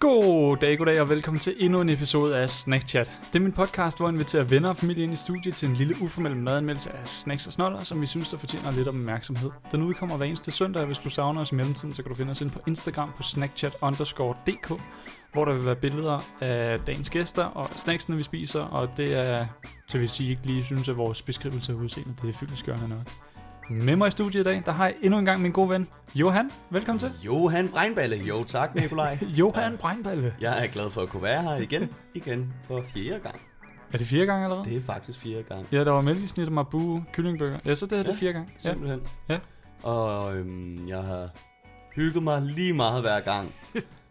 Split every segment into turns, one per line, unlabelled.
God dag, god dag og velkommen til endnu en episode af Snack Chat. Det er min podcast, hvor jeg inviterer venner og familie ind i studiet til en lille uformel madanmeldelse af snacks og snoller, som vi synes, der fortjener lidt opmærksomhed. Den udkommer hver eneste søndag, og hvis du savner os i mellemtiden, så kan du finde os ind på Instagram på snackchat_dk, hvor der vil være billeder af dagens gæster og snacksene, vi spiser, og det er, så hvis I ikke lige synes, at vores beskrivelse af udseendet, det er fyldeskørende nok. Med mig i studiet i dag, der har jeg endnu en gang min gode ven, Johan. Velkommen til.
Johan Breinballe. Jo, tak Nikolaj.
Johan Breinballe.
Jeg er glad for at kunne være her igen, igen, for fjerde gang.
Er det fire gange allerede?
Det er faktisk fjerde gang,
Ja, der var mælkesnit og marbu, kyllingbøger. Ja, så det her det er
Ja.
fire gange. Ja.
simpelthen.
Ja.
Og øhm, jeg har hygget mig lige meget hver gang.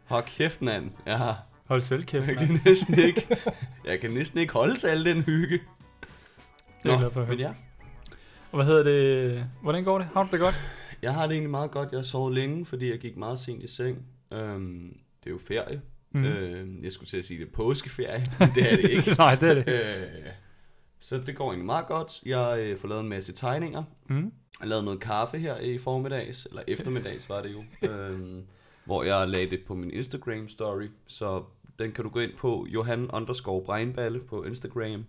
Hold kæft, mand. Jeg, har,
Hold selv kæft,
jeg
mand.
kan næsten ikke, jeg kan næsten ikke holde til al den hygge.
Det er jeg glad for at høre.
men ja,
Og hvad hedder det? Hvordan går det? Har du det godt?
jeg har det egentlig meget godt. Jeg sov længe, fordi jeg gik meget sent i seng. Øhm, det er jo ferie.
Mm.
Mm. Øhm, jeg skulle til at sige, det er påskeferie, men det er det ikke.
Nej, det er det.
Øh, så det går egentlig meget godt. Jeg øh, får lavet en masse tegninger.
Mm.
Jeg lavede noget kaffe her i formiddags, eller eftermiddags var det jo, øh, hvor jeg lagde det på min Instagram story, så den kan du gå ind på, Johan underscore Breinballe på Instagram,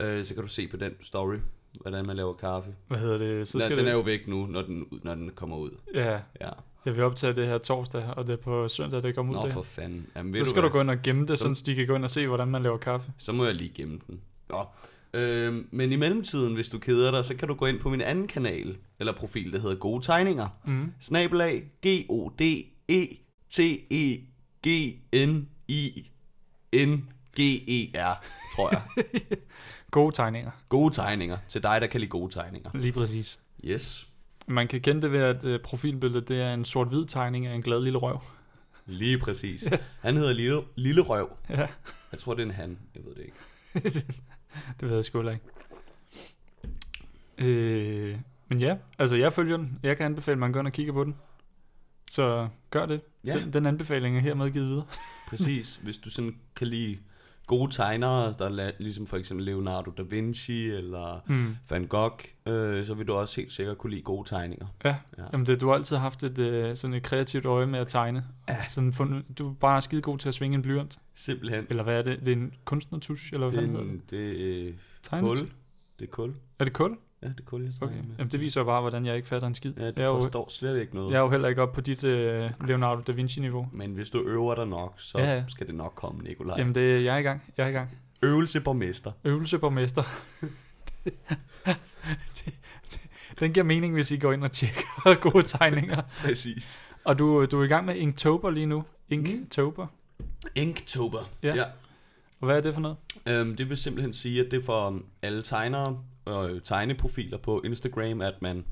øh, så kan du se på den story, hvordan man laver kaffe.
Hvad hedder det?
Så skal den
det...
er jo væk nu, når den, ud- når den kommer ud.
Ja,
Ja.
jeg vil optage det her torsdag, og det er på søndag, det kommer ud
Nå
det.
for fanden. Jamen, ved
Så skal du
hvad?
gå ind og gemme det,
Så-
sådan så de kan gå ind og se, hvordan man laver kaffe.
Så må jeg lige gemme den. Nå. Øhm, men i mellemtiden, hvis du keder dig, så kan du gå ind på min anden kanal, eller profil, der hedder Gode Tegninger.
Mm.
Snabelag E G-O-D-E-T-E-G-N-I-N-G-E-R, E tror jeg.
Gode tegninger.
Gode tegninger. Til dig, der kan lide gode tegninger.
Lige præcis.
Yes.
Man kan kende det ved, at øh, profilbilledet det er en sort-hvid tegning af en glad lille røv.
Lige præcis. Han hedder Lille, Lille Røv.
Ja,
Jeg tror, det er en han. Jeg ved det ikke.
det ved jeg sgu heller ikke. Øh, men ja, altså jeg følger den. Jeg kan anbefale, at man går ind og kigger på den. Så gør det. Ja.
Ja,
Den, den anbefaling er hermed givet videre.
præcis. Hvis du sådan kan lide gode tegnere, der la- ligesom for eksempel Leonardo da Vinci eller
Mm.
Van Gogh, øh, så vil du også helt sikkert kunne lide gode tegninger.
Ja.
Ja.
Jamen det, du har altid haft et, øh, sådan et kreativt øje med at tegne. Ja. Sådan fund, du er bare skide god til at svinge en blyant.
Simpelthen.
Eller hvad er det? Det er en kunstnertusch, eller hvad
Det er,
fanden hedder det?
en, det er øh,
Tegnetusch?
kul. Det er kul.
Er det kul?
Ja, det er kul, jeg
Okay.
snakker med.
Jamen det viser jo bare, hvordan jeg ikke fatter en skid.
Ja,
jeg, er
du
jo,
forstår slet ikke noget.
jeg er jo heller ikke oppe på dit øh, Leonardo da Vinci-niveau.
Men hvis du øver dig nok, så
Ja, ja.
skal det nok komme, Nikolaj.
Jamen det er jeg er i gang. Jeg er i gang.
Øvelse på mester.
Øvelse på mester. Den giver mening, hvis I går ind og tjekker gode tegninger.
Præcis.
Og du, du er i gang med Inktober lige nu. Inktober.
Inktober.
Ja.
ja.
Og hvad er det for noget?
Øhm, det vil simpelthen sige, at det er for øhm, alle tegnere og øh, tegneprofiler på Instagram, at man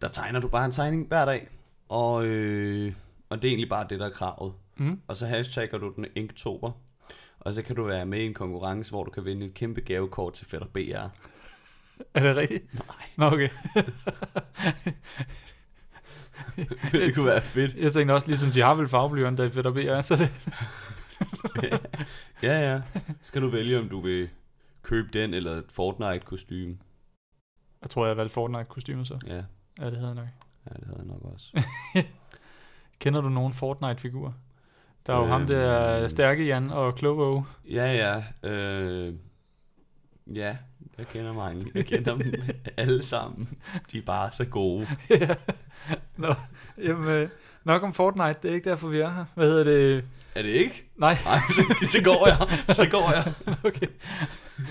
der tegner du bare en tegning hver dag, og, øh, og det er egentlig bare det, der er kravet.
Mm.
Og så hashtagger du den Inktober, og så kan du være med i en konkurrence, hvor du kan vinde et kæmpe gavekort til Fætter BR.
Er det rigtigt?
Nej,
Nå, okay.
det kunne være fedt.
Jeg tænkte også, ligesom de har vel farveblyeren, der i fedt og BR, så det...
Ja, ja. Så kan du vælge, om du vil købe den eller et Fortnite-kostyme.
Jeg tror, jeg valgte Fortnite-kostymer så.
Ja,
Ja, det havde jeg nok.
ja, det havde jeg nok også.
Kender du nogen Fortnite-figurer? Der er jo ham
Øhm.
der Stærke Jan og Klovo.
Ja, ja. Øh, ja, jeg kender mange. Jeg kender dem alle sammen. De er bare så gode.
Ja. Nå, jamen, øh, nok om Fortnite, det er ikke derfor, vi er her. Hvad hedder det?
Er det ikke?
Nej,
Nej, så, så går jeg. Så går jeg.
okay.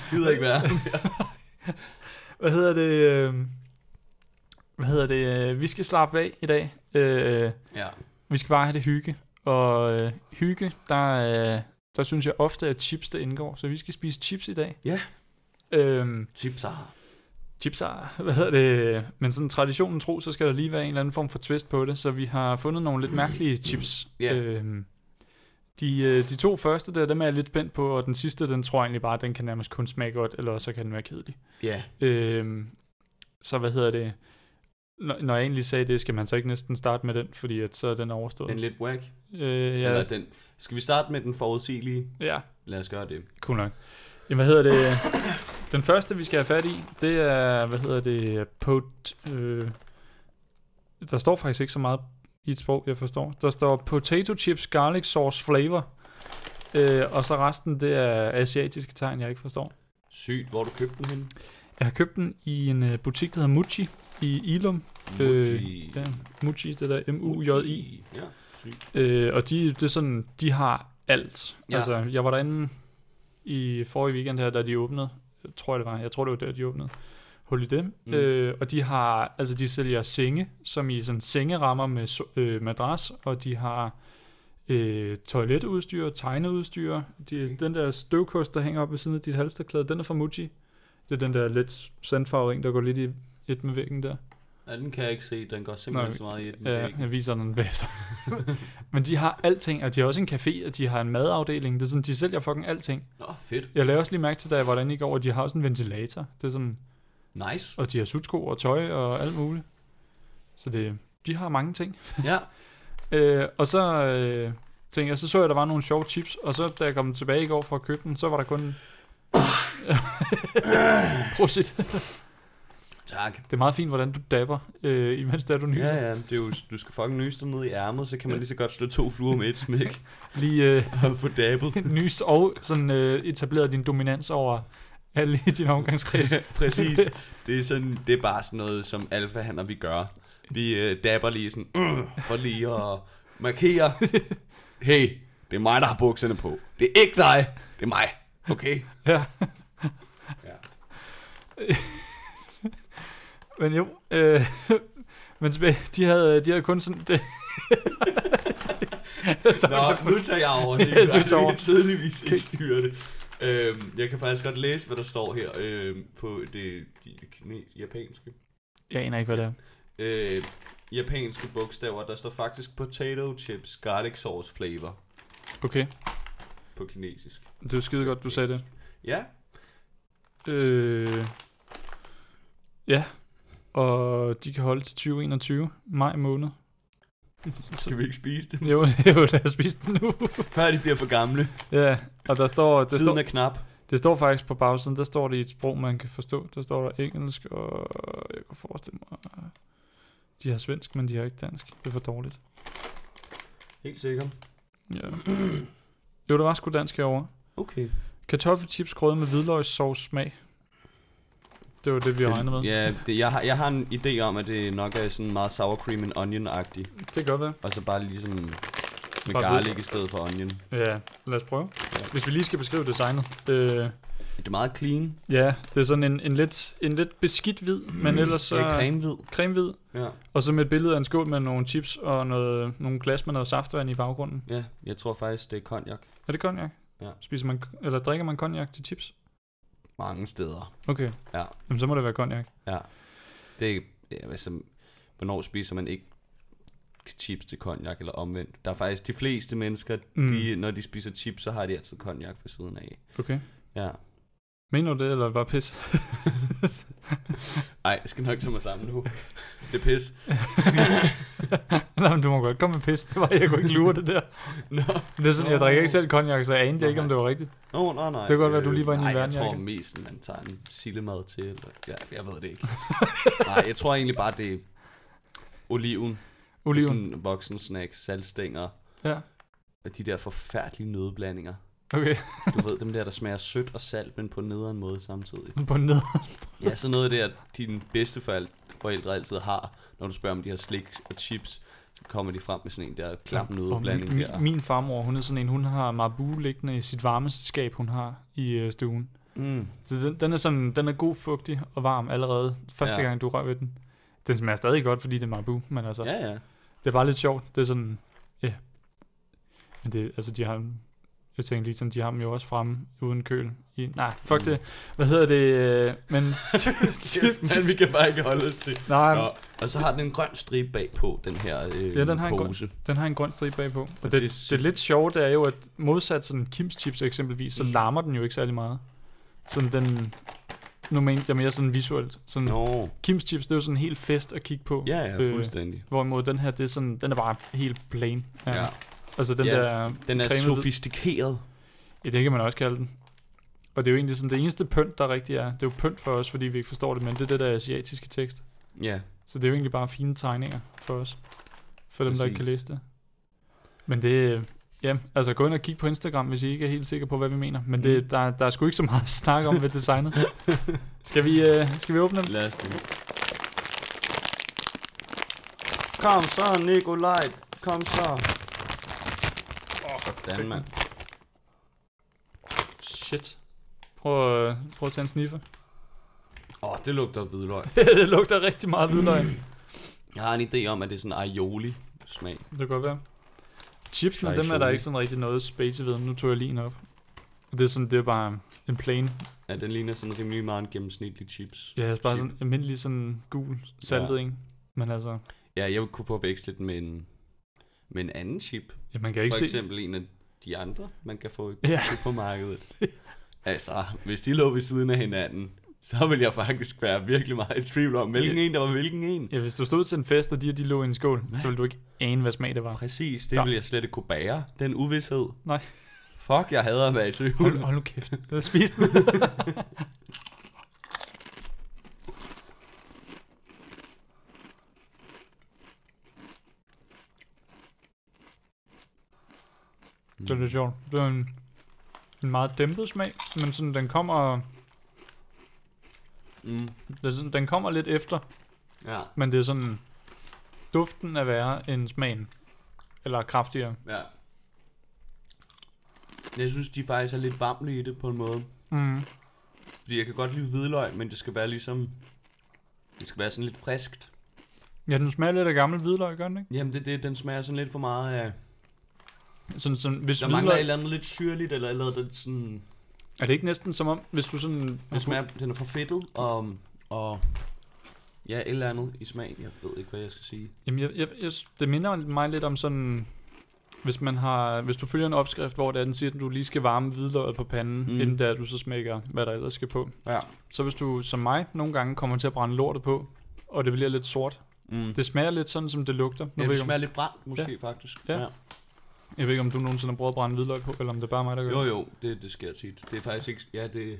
Gider ikke være.
Hvad hedder det? Øh, hvad hedder det? øh, Vi skal slappe af i dag. Øh,
Ja.
vi skal bare have det hygge. Og øh, hygge, der, øh, der synes jeg ofte, at chips det indgår. Så vi skal spise chips i dag.
Ja.
Øh,
Tips har.
chips er, hvad hedder det? Men sådan traditionen tro, så skal der lige være en eller anden form for twist på det. Så vi har fundet nogle lidt mærkelige chips.
Ja.
Øhm, de, øh, de to første der, dem er jeg lidt spændt på, og den sidste, den tror jeg egentlig bare, den kan nærmest kun smage godt, eller også så kan den være kedelig.
Ja.
Øhm, så hvad hedder det? Når, når jeg egentlig sagde det, skal man så ikke næsten starte med den, fordi at så er den overstået.
Den er lidt whack.
øh,
Ja. Eller
ja,
den. Skal vi starte med den forudsigelige?
ja,
Lad os gøre det.
cool nok. Jamen, hvad hedder det? Den første, vi skal have fat i, det er, hvad hedder det, pot... Øh, der står faktisk ikke så meget i et sprog, jeg forstår. Der står potato chips garlic sauce flavor. Øh, og så resten, det er asiatiske tegn, jeg ikke forstår.
Sygt, hvor har du købte den henne?
Jeg har købt den i en øh, butik, der hedder Muchi i Ilum. Øh,
Muji.
Ja, Muji, det der M-U-J-I.
Ja, sygt.
Øh, og de, det er sådan, de har alt. Ja.
Ja.
Altså, jeg var derinde i forrige weekend her, da de åbnede. Jeg tror, det var. Jeg tror, det var der, de åbnede. Holiday. Mm.
Mm.
Øh, og de har, altså de sælger senge, som i sådan sengerammer med so- øh, madras, og de har øh, toiletudstyr, tegneudstyr. De, okay. Den der støvkost, der hænger op ved siden af dit halsterklæde, den er fra Muji. Det er den der lidt sandfarvering, der går lidt i et med væggen der.
Ja, den kan jeg ikke se. Den går simpelthen
Nej,
så meget i den.
Ja,
væg.
jeg viser den bagefter. Øh, Men de har alting, og de har også en café, og de har en madafdeling. Det er sådan, de sælger fucking alting.
Nå, fedt.
Jeg lavede også lige mærke til, da jeg var derinde i går, at de har også en ventilator. Det er sådan,
Nice.
og de har sutsko og tøj og alt muligt. Så det, de har mange ting.
Ja.
Øh, og så øh, tænkte jeg, så så jeg, at der var nogle sjove chips, og så da jeg kom tilbage i går for at købe dem, så var der kun... Prosit.
Tak.
Det er meget fint, hvordan du dapper, øh, imens det er, du nyser.
Ja, ja, det er jo, du skal fucking nyse dig ned i ærmet, så kan man lige så godt slå to fluer med et smæk
Lige, øh,
og få dabbet.
nyst og sådan øh, etableret din dominans over alle i din omgangskreds.
Præcis. Det er, sådan, det er bare sådan noget, som alfahander vi gør. Vi øh, dabber lige sådan, øh, for lige at markere. Hey, det er mig, der har bukserne på. Det er ikke dig, det er mig. Okay?
ja.
Ja.
Men jo, øh, men tilbage, de havde, de havde kun sådan... Det. Jeg tager det på-
Nå, nu tager jeg over. Det
Ja, du
kan
tager
jeg
over.
helt tydeligvis ikke styre det. Øhm, jeg kan faktisk godt læse, hvad der står her øhm, på det kine- japanske.
jeg aner ikke, hvad det er.
øh, japanske bogstaver, der står faktisk potato chips garlic sauce flavor
Okay,
på kinesisk.
det var skide godt, du sagde det.
Ja,
Øh, ja, og de kan holde til 2021, maj måned.
skal vi ikke spise det?
Jo, jo, lad os spise den nu.
Før de bliver for gamle.
ja, og der står... Der
Tiden
står
er knap.
Det står faktisk på bagsiden, der står det i et sprog, man kan forstå. Der står der engelsk, og jeg kan forestille mig, øh, de har svensk, men de har ikke dansk. Det er for dårligt.
Helt sikker.
Ja. Jo, der var sgu dansk herovre.
Okay.
Kartoffelchips grød med hvidløgssovs smag. Det var det, vi regnede med.
Ja, det, jeg, har, jeg har en idé om, at det nok er sådan meget sour cream and onion-agtig.
Det kan godt være.
Og så bare ligesom med
Bare
garlic i stedet for onion.
Ja, lad os prøve. Hvis vi lige skal beskrive designet. Øh,
Det er meget clean.
ja, det er sådan en, en, lidt, en lidt beskidt hvid, men ellers så
Så... Ja, cremehvid.
cremehvid.
Ja.
Og så med et billede af en skål med nogle chips og noget, nogle glas med noget saftvand i baggrunden.
ja, jeg tror faktisk, det er cognac
Er det cognac?
Ja.
Spiser man, eller drikker man cognac til chips?
mange steder.
Okay.
Ja.
Jamen, så må det være cognac.
Ja. Det er, det er altså, hvornår spiser man ikke chips til cognac eller omvendt. Der er faktisk de fleste mennesker,
Mm.
mm. de, når de spiser chips, så har de altid cognac for siden af.
Okay.
Ja.
Mener du det, eller er det bare pis?
Ej, jeg skal nok tage mig sammen nu. Det er pis.
Nej, men du må godt komme med pis. Det var, jeg kunne ikke lure det der.
Nå,
Det er sådan, jeg
Nå.
drikker ikke selv cognac, så jeg anede ikke, om det var rigtigt.
no, no, nej.
Det
Øh,
kan godt være, du lige var inde i
nej,
en
jeg tror
verdenjakke.
mest, man tager en sillemad til. Eller, ja, jeg ved det ikke. nej, jeg tror egentlig bare, det er oliven.
Oliven.
Sådan en voksen snack, saltstænger
Ja.
og de der forfærdelige nødblandinger.
Okay.
Du ved, dem der, der smager sødt og salt, men på en nederen måde samtidig.
På ned.
Ja, sådan noget af det, at dine bedste forældre altid har, når du spørger, om de har slik og chips, så kommer de frem med sådan en der klap nødeblanding
min,
der.
min farmor, hun er sådan en, hun har Marabou liggende i sit varmeskab, hun har i øh, stuen.
Mm.
Så den, den, er sådan, den er god, fugtig og varm allerede, første ja.
Ja.
gang du rører ved den. Den smager stadig godt, fordi det er Marabou, men altså,
Ja, ja.
Det er bare lidt sjovt. Det er sådan, ja. Yeah. Men det, altså de har, jeg tænkte lige sådan, de har dem jo også fremme uden køl. I, nej, fuck
Mm.
det. Hvad hedder det? øh, Men,
Kæft, mand, vi kan bare ikke holde os til.
nej,
Nå, og så har den en grøn stribe bagpå, den her øh,
Ja, den har en grøn-
pose.
den har en grøn stribe bagpå. Og det,
Og
det,
det er
det, er lidt sjovt, det er jo, at modsat sådan Kims chips eksempelvis, så
Mm.
larmer den jo ikke særlig meget. Sådan den, nu mente jeg mere sådan visuelt. Sådan, no.
Nå,
Kims chips, det er jo sådan en hel fest at kigge på.
ja, ja,
Mm. Øh,
fuldstændig.
Hvorimod den her, det er sådan, den er bare helt plain.
Ja. Ja.
Altså den
Ja,
der
Den
Cremet
er
hvid.
sofistikeret.
Ja, det kan man også kalde den. Og det er jo egentlig sådan, det eneste pynt, der rigtig er, det er jo pynt for os, fordi vi ikke forstår det, men det er det der asiatiske tekst.
Ja,
Så det er jo egentlig bare fine tegninger for os. for dem, Præcis. der ikke kan læse det. Men det, ja, altså gå ind og kig på Instagram, hvis I ikke er helt sikre på, hvad vi mener. Men det, der, der er sgu ikke så meget at snakke om ved designet. skal, vi, øh, skal vi åbne dem?
Lad os det. Kom så, Nikolaj. Kom så. Sådan, mand.
Shit. Prøv, øh, prøv at tage en sniffer.
Åh, oh, det lugter af hvidløg.
det lugter rigtig meget hvidløg.
Jeg har en idé om, at det er sådan aioli-smag.
Det kan godt være. Chipsene,
Chai
dem er der
chili.
ikke sådan rigtig noget space ved. Nu tog jeg lige en op. Og det er sådan, det er bare en plain.
Ja, den ligner sådan rimelig meget en gennemsnitlig chips.
Ja, jeg bare
Chip.
sådan almindelig sådan gul saltet, ja. Men altså,
Ja, jeg kunne forveksle den med en, med en anden chip.
ja, man kan ikke
For
se.
eksempel en af de andre, man kan få i
Ja.
ja. på markedet. Altså, hvis de lå ved siden af hinanden, så ville jeg faktisk være virkelig meget i tvivl om, hvilken en der var hvilken en.
Ja, hvis du stod til en fest, og de, og de lå i en skål, så ville du ikke ane, hvad smag det var.
Præcis, det
Der-
ville jeg slet ikke kunne bære. Den uvidshed.
Nej.
Fuck, jeg hader at være i
Hold,
tvivl.
hold nu kæft. Lad os spise den. det er lidt sjovt. Det er en, en meget dæmpet smag, men sådan, den kommer,
Mm.
det er sådan, den kommer lidt efter,
Ja,
men det er sådan, duften er værre end smagen. Eller kraftigere.
ja. Jeg synes, de faktisk er lidt varmlige i det på en måde.
Mm.
Fordi jeg kan godt lide hvidløg, men det skal være ligesom... Det skal være sådan lidt friskt.
Ja, den smager lidt af gammel hvidløg, gør den ikke?
Jamen, det, det, den smager sådan lidt for meget af...
Sådan, sådan, hvis
Der mangler et
hvidløg,
eller andet lidt syrligt, eller, eller den sådan...
er det ikke næsten som om, hvis du sådan...
Den, smager, den er for fedtet, og, og... Ja, et eller andet i smagen. Jeg ved ikke, hvad jeg skal sige.
Jamen, jeg, jeg, jeg, det minder mig lidt om sådan... Hvis, man har, hvis du følger en opskrift, hvor det er, den siger, at du lige skal varme hvidløget på panden, mm.
Mm.
inden der du så smækker, hvad der ellers skal på.
Ja.
Så hvis du, som mig, nogle gange kommer til at brænde lortet på, og det bliver lidt sort.
Mm.
Det smager lidt sådan, som det lugter. Nu
Ja,
ja, ved
det
jeg,
smager lidt brændt, måske ja. faktisk.
Ja. om, jeg ved ikke, om du nogensinde har prøvet at brænde hvidløg på, eller om det er bare mig, der gør
Jo,
det.
jo, det, det sker tit. Det er faktisk ikke... Ja, det...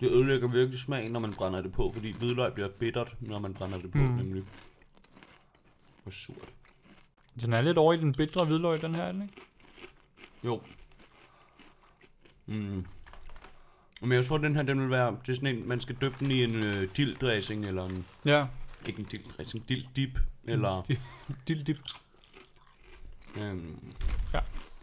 Det ødelægger virkelig smagen, når man brænder det på, fordi hvidløg bliver bittert, når man brænder det på,
Mm.
mm. nemlig. Hvor surt.
Den er lidt over i den bitre hvidløg, den her, er den, ikke?
Jo. Mm. Men jeg tror, den her, den vil være... Det er sådan en, man skal dyppe den i en øh, dilddressing, eller en...
Ja,
Ikke en dilddressing, dilddip,
Mm.
eller...
dip, dip.
Øhm,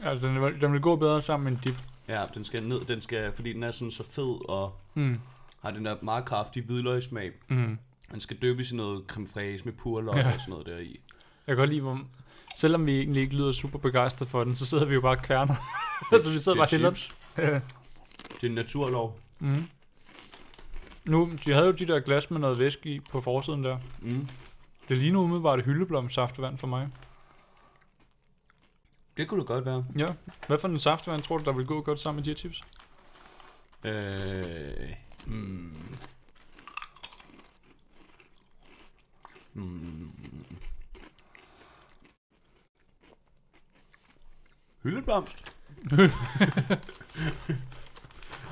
Altså, den, vil- den vil gå bedre sammen med en dip.
ja, den skal ned, den skal... Fordi den er sådan så fed, og
Mm.
har den der meget kraftige hvidløgsmag.
Mm.
Man skal dyppes i noget creme fraise med purløg ja.
Ja.
og sådan noget der i.
Jeg kan godt lide, hvor... Selvom vi egentlig ikke lyder super begejstrede for den, så sidder vi jo bare og kværner. altså, vi sidder bare og hælder
chips.
den.
Det er en naturlov.
mm. Nu, de havde jo de der glas med noget væske i på forsiden der.
Mm.
Det ligner umiddelbart hyldeblom saftevand for mig.
Det kunne det godt være.
Ja. Hvad for en saftevand tror du, der vil gå godt sammen med de her chips?
Øh, mm. Mm. Hyldeblomst.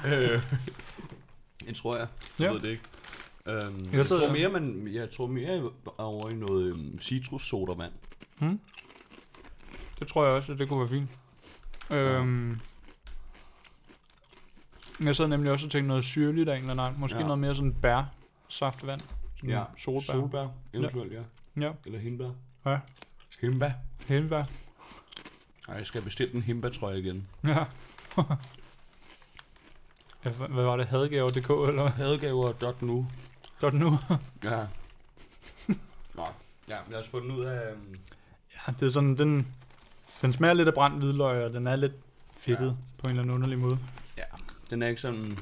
øh, det tror jeg. Jeg
Ja.
ved det ikke. Øhm, jeg,
Jeg
jeg,
sidder
tror
der.
mere, man, jeg tror mere jeg er over i noget øhm, citrussodavand.
Det tror jeg også, at det kunne være fint. Øhm, jeg sad nemlig også og tænkte noget syrligt af en eller anden. art. Måske ja.
Ja.
noget mere sådan bær saftevand. Sådan
Ja,
Mm. Solbær. Sol.
Solbær, eventuelt, ja.
Ja.
Eller hindbær.
Ja.
Himba.
Helvær.
Ej, jeg skal bestille en himba-trøje igen.
Ja. ja hva- hvad var det? Hadgaver.dk eller hvad?
Hadegaver.nu.
Godt nu.
Ja. Nå, ja, lad os få den ud af... øhm,
ja, det er sådan, den, den smager lidt af brændt hvidløg, og den er lidt fedtet ja. på en eller anden underlig måde.
Den er ikke sådan...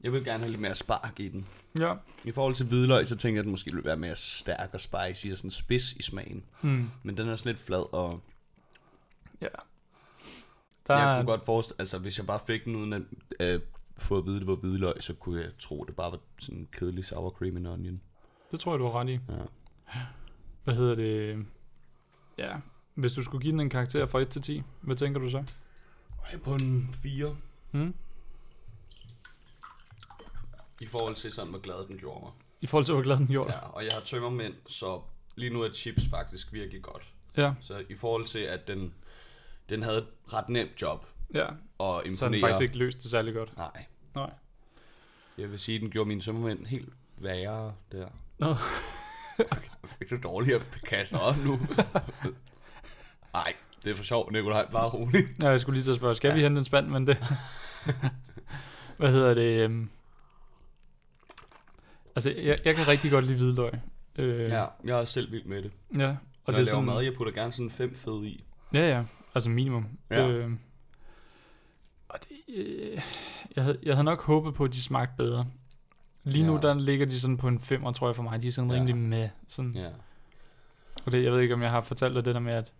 Jeg vil gerne have lidt mere spark i den.
Ja.
I forhold til hvidløg, så tænker jeg, at den måske ville være mere stærk og spicy og sådan spids i smagen.
Hmm.
Men den er sådan lidt flad, og
ja.
Der...
Der,
jeg
er,
kunne godt forestille... Altså, hvis jeg bare fik den uden at øh, få at vide, det var hvidløg, så kunne jeg tro, det bare var sådan en kedelig sour cream and onion.
det tror jeg, du har ret i.
Ja.
Hvad hedder det? Ja, hvis du skulle give den en karakter fra 1 til 10, hvad tænker du så?
Ej, på en 4.
Hmm?
I forhold til sådan, hvor glad den gjorde mig.
I forhold til, hvor glad den gjorde. Ja.
Ja, og jeg har tømmermænd, så lige nu er chips faktisk virkelig godt.
Ja,
Så i forhold til, at den, den havde et ret nemt job
ja.
og
Så har den
imponere.
faktisk ikke løst det særlig godt.
Nej.
Nej.
Jeg vil sige, at den gjorde mine sommermænd helt værre der.
Nå.
Jeg fik du dårligt at kaste op nu. Nej, det er for sjovt, Nikolaj. Bare rolig.
Ja, jeg skulle lige til at spørge, skal ja. vi hente en spand, men det... Hvad hedder det? øhm, Altså, jeg, jeg kan rigtig godt lide hvidløg. Øh,
Ja, jeg er selv vild med det.
ja.
Og Når det er jeg laver mad, jeg putter gerne sådan fem fede i.
Ja, ja. Altså minimum.
Ja.
Øh, og det, øh, jeg, havde, jeg havde nok håbet på, at de smagte bedre. Lige nu,
Ja.
der ligger de sådan på en 5, tror jeg for mig. De er sådan
Ja.
rimelig med. Sådan.
Ja.
Og det, jeg ved ikke, om jeg har fortalt dig det der med, at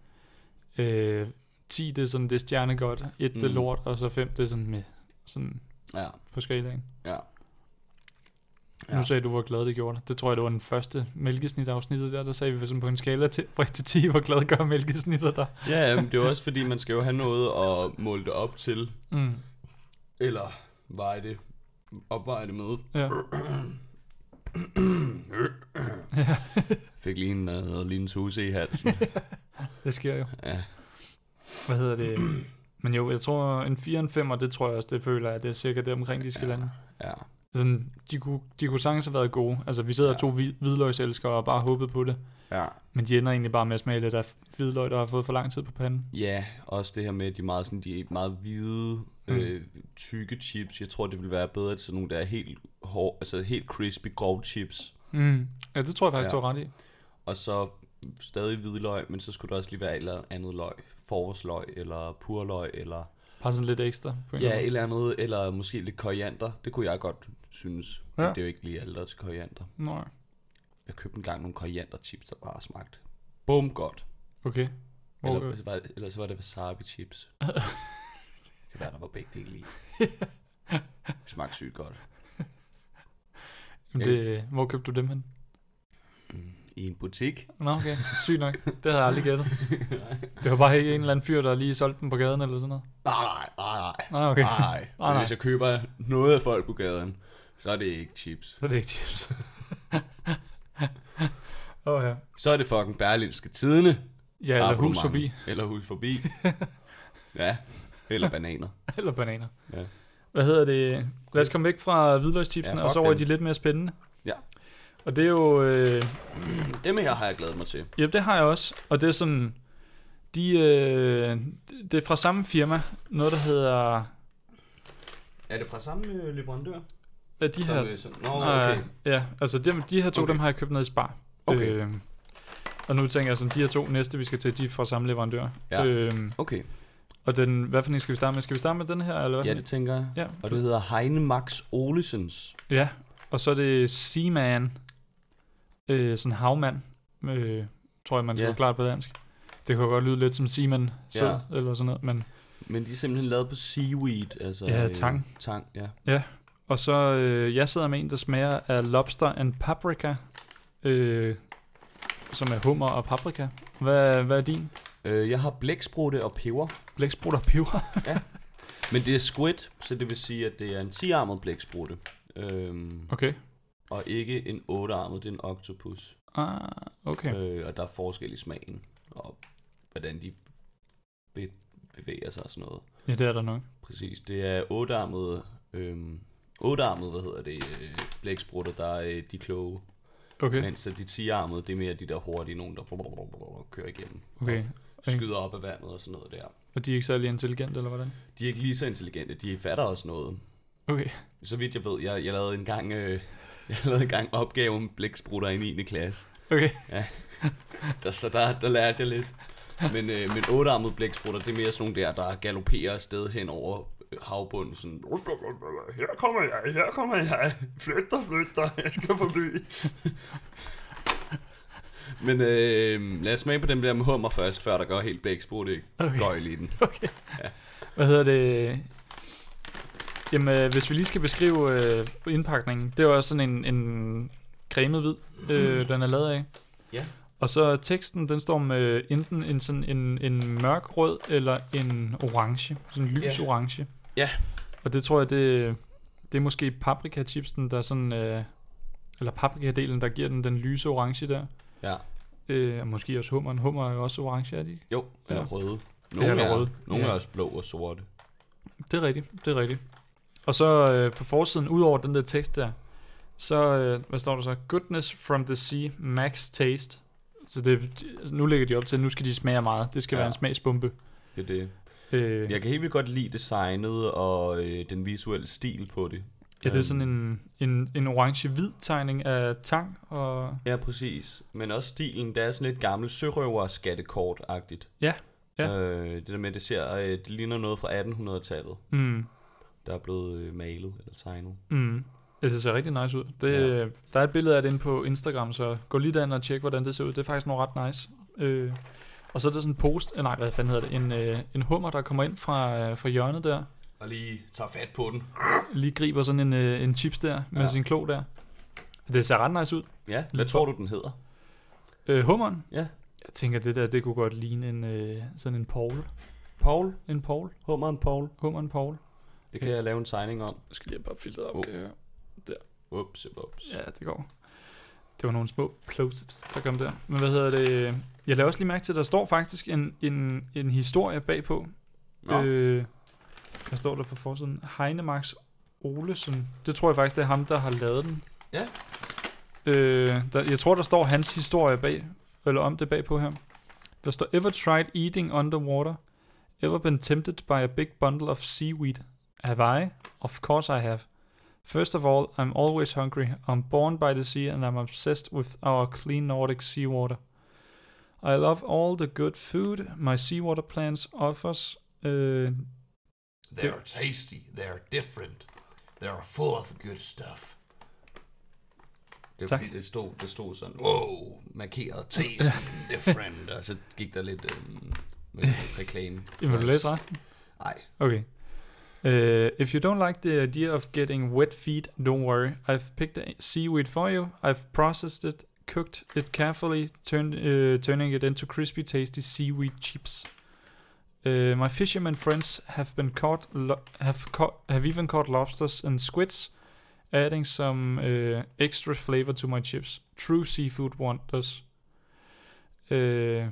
øh, 10, det er sådan, det er stjernegodt. 1, mm. det er
Mm.
lort. Og så 5, det er sådan med. Sådan
Ja,
på skalaen.
ja.
Ja.
Ja.
Nu sagde du, hvor glad det gjorde dig. Det tror jeg, det var den første mælkesnit-afsnittet der. Der sagde vi sådan på en skala til, fra 1 til 10, hvor glad gør mælkesnittet dig.
Ja, men det er også fordi, man skal jo have noget at måle det op til.
Mm.
Eller veje det, opveje det med.
Ja.
Fik lige en, uh, lige en tuse i halsen.
Det sker jo.
Ja.
Hvad hedder det? Men jo, jeg tror en 4 og en 5, det tror jeg også, det føler jeg, det er cirka det omkring, de skal ja. lande.
ja.
Sådan, de, kunne, de kunne sagtens have været gode. Altså, vi sidder ja.
Ja.
to hvid- hvidløgselskere og bare håbede på det.
Ja.
Men de ender egentlig bare med at smage lidt af hvidløg, der har fået for lang tid på panden.
Ja, også det her med, at de er meget, sådan, de er meget hvide,
Mm.
mm. øh, tykke chips. Jeg tror, det ville være bedre til sådan nogle, der er helt, hår, altså helt crispy, grove chips.
Mm. Ja, det tror jeg faktisk, ja.
Ja.
du har ret i.
Og så stadig hvidløg, men så skulle der også lige være et eller andet løg. Forårsløg, eller purløg, eller,
Bare sådan lidt ekstra. På en
ja,
eller
et
anden
eller andet, eller måske lidt koriander. Det kunne jeg godt synes. Ja.
Ja.
Men det er jo ikke lige alle, der til koriander.
måde. Nå,
Jeg købte engang nogle koriander chips, der bare smagte bum godt.
okay. Hvor,
Eller,
øh,
så var det, eller så var det wasabi chips. det kan være, der var begge dele i. Det smagte sygt godt.
jamen det, hvor købte du dem hen?
I en butik.
Nå, okay. Sygt nok. Det havde jeg aldrig gættet. Det var bare ikke en eller anden fyr, der lige solgte dem på gaden eller sådan noget.
Nej, nej, nej, nej.
Nå, okay.
Nej,
Nej, nej.
Men hvis jeg køber noget af folk på gaden, så er det ikke chips.
Så er det ikke chips. Åh oh, ja.
Så er det fucking Berlinske Tidene.
Ja, eller
Abonnement.
hus forbi.
Eller hus forbi. ja, eller bananer.
Eller bananer.
Ja.
Hvad hedder det? Lad os komme væk fra hvidløgstipsen,
Ja,
ja,
fuck
og så over i
dem.
de lidt mere spændende.
Ja.
Og det er jo... Øh,
Dem her har jeg glædet mig til.
ja, det har jeg også. Og det er sådan... De, øh, det er fra samme firma. Noget, der hedder...
Er det fra samme øh, leverandør?
Ja, de her...
øh, som, nå, okay.
Nej, ja, altså dem, de her to, okay.
Okay.
dem har jeg købt ned i Spar.
Okay.
Øh, og nu tænker jeg sådan, de her to næste, vi skal til, de er fra samme leverandør.
Ja.
Øhm,
Okay,
og den, hvad for en skal vi starte med? Skal vi starte med den her? Eller hvad
ja,
for en?
det tænker jeg.
ja.
Og det hedder Heine Max Olesens.
Ja, og så er det Seaman. Øh, sådan havmand, øh, tror jeg, man skal
Ja.
yeah. klart på dansk. Det kan jo godt lyde lidt som Seaman selv,
Ja.
eller sådan noget. Men,
Men de er simpelthen lavet på seaweed. Altså,
Ja, tang.
Øh, tang, ja.
og så, øh, jeg sidder med en, der smager af lobster and paprika, øh, som er hummer og paprika. Hvad, hvad er din?
Øh, jeg har blæksprutte og peber.
Blæksprutter og peber?
Men det er squid, så det vil sige, at det er en 10-armet blæksprutte. Øhm,
Okay.
og ikke en 8-armet, det er en octopus.
Ah, okay.
Øh, og der er forskel i smagen, og hvordan de be- bevæger sig og sådan noget.
Ja, det er der nok.
Præcis, det er 8-armet, øhm, 8-armet hvad hedder det, øh, blæksprutter, der er øh, de kloge.
Okay,
Okay. Mens at de 10-armede, det er mere de der hurtige nogen, der kører igennem.
okay.
Og skyder op af vandet og sådan noget der.
Og de er ikke særlig intelligente, eller hvordan?
De er ikke lige så intelligente, de fatter også noget.
Okay.
Så vidt jeg ved, jeg, jeg lavede engang øh, jeg lavede engang opgave om blæksprutter i 9. klasse.
Okay.
Der, så der, der lærte jeg lidt. Men, øh, men ottearmede blæksprutter, det er mere sådan nogle der, der galopperer afsted hen over øh, havbunden. Sådan, her kommer jeg, her kommer jeg. Flyt dig, flyt dig, jeg skal forbi. men øh, lad os smage på dem der med hummer først, før der går helt blæksprutte ikke
Okay.
gøjl i den.
Hvad hedder det? Jamen, øh, hvis vi lige skal beskrive øh, indpakningen. Det er jo også sådan en, en cremet hvid, øh, den er lavet af.
Mm. Ja.
Og så teksten, den står med enten en, sådan en, en mørk rød eller en orange. Sådan en lys
Ja.
orange.
Ja.
Og det tror jeg, det, det er måske paprikachipsen, der sådan... Øh, eller paprikadelen, der giver den den lyse orange der.
Ja.
Øh, og måske også hummeren. Hummer er jo også orange, er de? ikke?
Jo, eller
Ja.
røde. Nogle,
Eller
er,
røde.
nogle
Ja.
er også blå og sorte.
Det er rigtigt, det er rigtigt. Og så øh, på forsiden, ud over den der tekst der, så, øh, hvad står der så? Goodness from the sea, max taste. Så det, altså, nu lægger de op til, at nu skal de smage af meget. Det skal ja.
Ja.
være en smagsbombe.
Det er det.
Øh, ja.
Jeg kan helt vildt godt lide designet og øh, den visuelle stil på det.
ja, det er sådan en, en, en orange-hvid tegning af tang, og
Ja, præcis. Men også stilen, der er sådan lidt gammel sørøver skattekort-agtigt.
Ja, ja.
Øh, det der med, det ser, øh, det ligner noget fra 1800-tallet,
mm,
der er blevet øh, malet eller tegnet.
mm, ja, det ser rigtig nice ud. Det, ja.
Ja.
Der er et billede af det inde på Instagram, så gå lige derind og tjek, hvordan det ser ud. Det er faktisk noget ret nice. Øh, og så er der sådan en post, eh, nej, hvad fanden hedder det, en, øh, en hummer, der kommer ind fra, øh, fra hjørnet der,
Og lige tager fat på den.
lige griber sådan en, øh, en chips der, med ja.
Ja.
sin klo der. Det ser ret nice ud.
Ja, hvad
Lidt
tror du, den hedder?
Øh, hummeren?
Ja.
Jeg tænker, det der, det kunne godt ligne en, øh, sådan en Paul.
Paul?
En Paul?
Hummeren Paul?
Hummeren Paul?
Det kan
Ja.
jeg lave en tegning om.
Jeg skal lige bare filtre
op, kan
jeg høre.
Ups, ups.
Ja, det går. Det var nogle små plosives, der kom der. Men hvad hedder det? Jeg lader også lige mærke til, at der står faktisk en, en, en historie bagpå.
Nå,
Øh, hvad står der på forsiden? Heinemarks Olesen. Det tror jeg faktisk, det er ham, der har lavet den.
Ja.
Øh, der, jeg tror, der står hans historie bag, eller om det bagpå her. Der står, ever tried eating underwater? Ever been tempted by a big bundle of seaweed? Have I? Of course I have. First of all, I'm always hungry. I'm born by the sea and I'm obsessed with our clean Nordic seawater. I love all the good food my seawater plants offers. Øh,
They're tasty. They're different. They're full of good stuff.
det,
tak.
tak. det, stod, det stod sådan, wow, markeret tasty, different, og så gik der lidt øhm, med reklame.
vil du læse resten?
Nej,
Okay. Uh, if you don't like the idea of getting wet feet, don't worry. I've picked a seaweed for you. I've processed it, cooked it carefully, turn, uh, turning it into crispy, tasty seaweed chips. Uh, my fisherman friends have been caught, lo- have caught, have even caught lobsters and squids, adding some uh, extra flavor to my chips. True seafood wonders. Uh,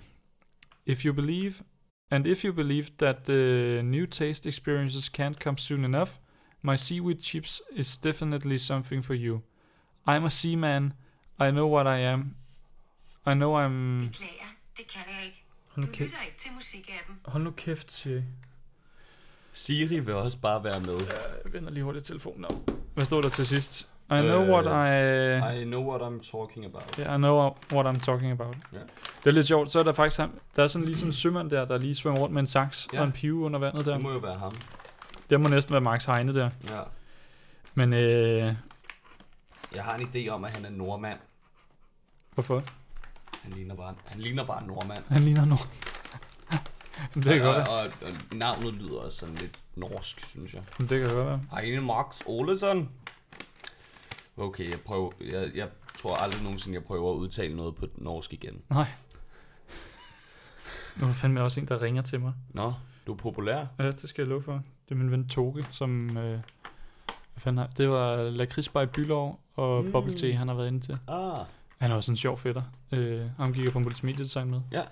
if you believe, and if you believe that the new taste experiences can't come soon enough, my seaweed chips is definitely something for you. I'm a seaman. I know what I am. I know I'm...
Beklager, det kan jeg ikke. Du
Hold nu kæft,
lytter ikke til musikappen.
hold nu kæft siger jeg.
Siri vil også bare være med.
Jeg vender lige hurtigt telefonen op. Hvad står der til sidst? I know what I...
Øh, I know what I'm talking about.
Yeah, I know what I'm talking about.
Ja.
Det er lidt sjovt. Så er der faktisk ham, der er sådan lige sådan en sømand der, der lige svømmer rundt med en saks
Ja.
og en pive under vandet der.
Det må jo være ham.
Det må næsten være Max Heine der.
Ja.
Men øh,
Jeg har en idé om, at han er nordmand.
hvorfor?
Han ligner bare, han ligner bare en nordmand.
Han ligner nogen. det kan godt være.
og, og, og, navnet lyder også sådan lidt norsk, synes jeg.
Det kan godt være.
Heine Max Olesen. Okay, jeg, prøver, jeg, jeg tror aldrig nogensinde, jeg prøver at udtale noget på norsk igen.
Nej. Nu er der fandme også en, der ringer til mig.
Nå, du er populær.
Ja, det skal jeg love for. Det er min ven Toge, som... Øh, hvad fanden har, det var Lakridsbar i Bylov og mm.
Mm.
Bubble Tea, han har været inde til.
Ah,
Han er også en sjov fætter. Øh, ham gik jeg på multimediedesign med.
Ja.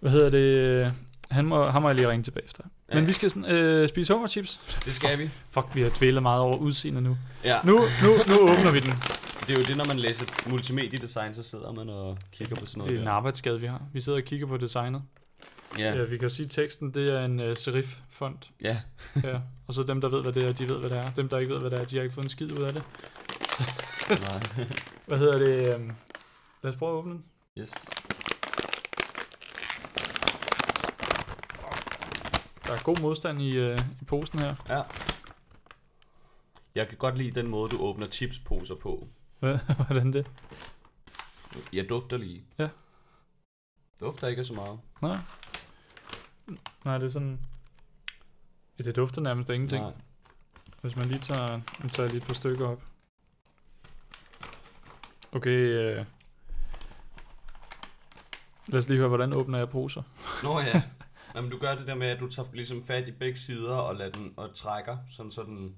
Hvad hedder det? Han må, ham må jeg lige ringe tilbage efter. Ja.
Ja.
Men vi skal sådan, øh, spise hummerchips.
det skal vi.
Fuck, vi har dvælet meget over udseende nu.
Ja,
Nu, nu, nu åbner vi den.
det er jo det, når man læser multimediedesign, så sidder man og kigger på sådan noget.
Det er en
der.
arbejdsskade, vi har. Vi sidder og kigger på designet.
Ja,
Ja, Øh, vi kan sige, at teksten det er en uh, serif-font.
ja.
Ja. Og så dem, der ved, hvad det er, de ved, hvad det er. Dem, der ikke ved, hvad det er, de har ikke fået en skid ud af det.
Nej.
Hvad hedder det? øhm, Lad os prøve at åbne den.
Yes.
Der er god modstand i, øh, i posen her.
Ja. Jeg kan godt lide den måde, du åbner chipsposer på.
Hvad- Hvordan det?
Jeg dufter lige.
Ja.
Dufter ikke af så meget.
Nej. Nej, det er sådan... Ja, det dufter nærmest af ingenting. Nej.
Nej.
Hvis man lige tager... Nu tager jeg lige et par stykker op. Okay, øh... Lad os lige høre, hvordan åbner jeg poser.
Nå ja. Jamen, du gør det der med, at du tager ligesom fat i begge sider og, lader den, og trækker, sådan så den,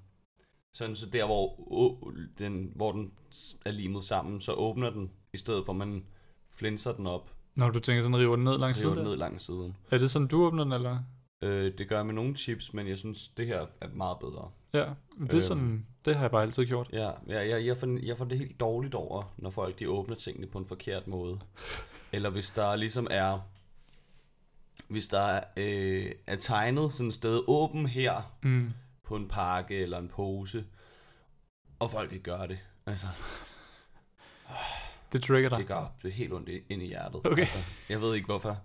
sådan så der, hvor, åh, den, hvor den s- er limet sammen, så åbner den, i stedet for at man flinser den op.
Når du tænker sådan, river den ned langs
River
siden
den
der.
ned langs siden.
Er det sådan, du åbner den, eller?
Øh, det gør jeg med nogle chips, men jeg synes, det her er meget bedre.
Ja, men det er
Øhm.
sådan, det har jeg bare altid gjort.
Ja, ja jeg, jeg, får, jeg får det helt dårligt over, når folk de åbner tingene på en forkert måde. Eller hvis der ligesom er... Hvis der øh, er tegnet sådan et sted åben her
Mm.
på en pakke eller en pose, og folk ikke gør det. Altså,
Det trigger dig.
det gør det helt ondt ind i hjertet.
Okay.
Altså, jeg ved ikke hvorfor.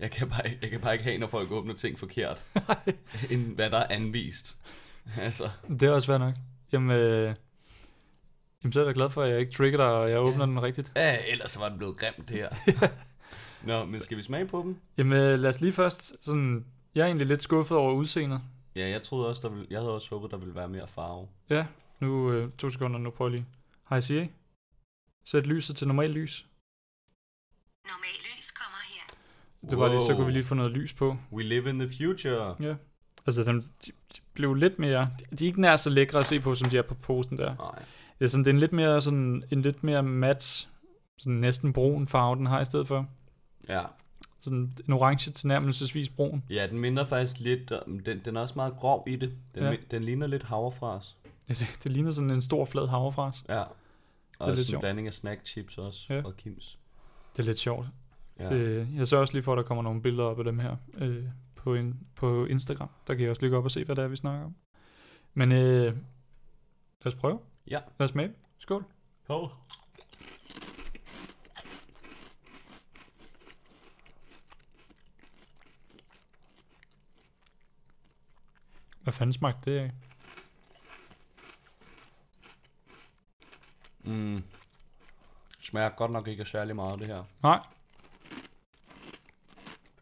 Jeg kan, bare, ikke- jeg kan bare ikke have, når folk åbner ting forkert, end hvad der er anvist. Altså,
Det er også fair nok. Jamen, øh, jamen, så er jeg da glad for, at jeg ikke trigger dig, og jeg åbner den rigtigt.
ja, ellers var det blevet grimt det her. Nå, men skal vi smage på dem?
Jamen, øh, lad os lige først sådan... Jeg er egentlig lidt skuffet over udseendet.
Ja, jeg troede også, der ville, jeg havde også håbet, der ville være mere farve.
Ja, nu øh, to sekunder, nu prøver jeg lige. Hej Siri. Sæt lyset til normalt lys.
Normal lys kommer her.
Det var lige, så kunne vi lige få noget lys på.
We live in the future.
Ja. Altså, den de, de blev lidt mere... De, de er ikke nær så lækre at se på, som de er på posen der.
Nej.
Det er, sådan, det er en lidt mere, sådan, en lidt mere mat, sådan næsten brun farve, den har i stedet for.
Ja.
Sådan en orange tilnærmelsesvis brun.
ja, den minder faktisk lidt, om- den, den er også meget grov i det. Den,
Ja.
ja. den ligner lidt havrefras.
Ja, det, det ligner sådan en stor flad havrefras.
Ja. Og
lidt
det er en
sjovt.
blanding af snack chips også,
Ja.
ja. og Kims.
Det er lidt sjovt.
Ja.
Ja. Det, jeg sørger også lige for, at der kommer nogle billeder op af dem her øh, på, en, på Instagram. Der kan jeg også lige gå op og se, hvad det er, vi snakker om. Men øh, lad os prøve.
Ja.
Lad os smage. Skål.
Hov.
Hvad fanden smagte det af?
Mm. Smager godt nok ikke af særlig meget, det her.
Nej,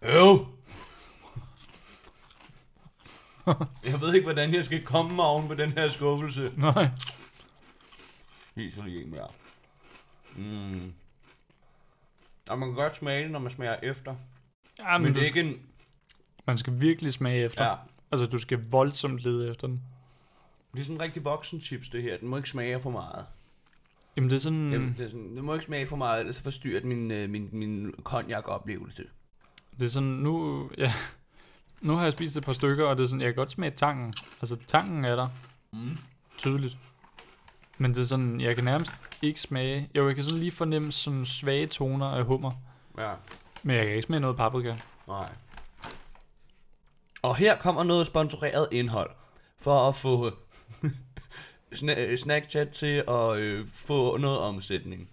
Øv! jeg ved ikke, hvordan jeg skal komme mig oven på den her skuffelse.
nej.
Viser lige en mere. Mm. Og man kan godt smage det, når man smager efter.
Ja, men
Men, men
du,
det er ikke en...
man skal virkelig smage efter.
Ja,
Ja. Altså, du skal voldsomt lede efter den.
det er sådan en rigtig voksen chips, det her. Den må ikke smage for meget.
Jamen, det er sådan...
Mm. Jamen, det er sådan, den må ikke smage for meget, ellers så forstyrrer den min, øh, min, min cognac-oplevelse.
Det er sådan, nu, ja, nu har jeg spist et par stykker, og det er sådan, jeg kan godt smage tangen. Altså, tangen er der.
Mm.
Tydeligt. Men det er sådan, jeg kan nærmest ikke smage. Jo, jeg kan sådan lige fornemme sådan svage toner af hummer.
Ja,
Men jeg kan ikke smage noget paprika.
nej. Og her kommer noget sponsoreret indhold. For at få sna- øh, Snackchat til at øh, få noget omsætning.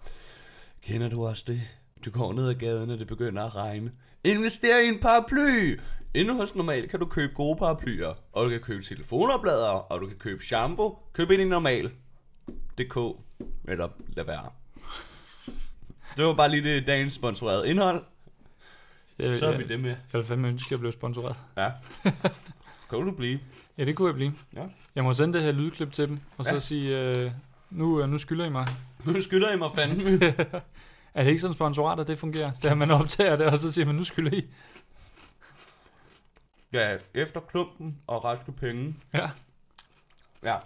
Kender du også det? Du går ned ad gaden, og det begynder at regne. Invester i en paraply! Inde hos Normal kan du købe gode paraplyer, og du kan købe telefonoplader, og du kan købe shampoo. Køb ind i Normal. DK. Eller lad være. Det var bare lige det dagens sponsorerede indhold.
Jeg,
Så er vi
jeg,
det med.
Jeg ville fandme ønske, at jeg blev sponsoreret.
Ja. Kan du blive?
Ja, det kunne jeg blive.
Ja.
Jeg må sende det her lydklip til dem, og så
Ja.
sige, øh, nu, øh, nu skylder I mig.
Nu skylder I mig fanden.
Er det ikke sådan sponsorater, det fungerer? Da man optager det, og så siger man, nu skylder I.
Ja, efter klumpen og raske penge.
Ja.
Ja.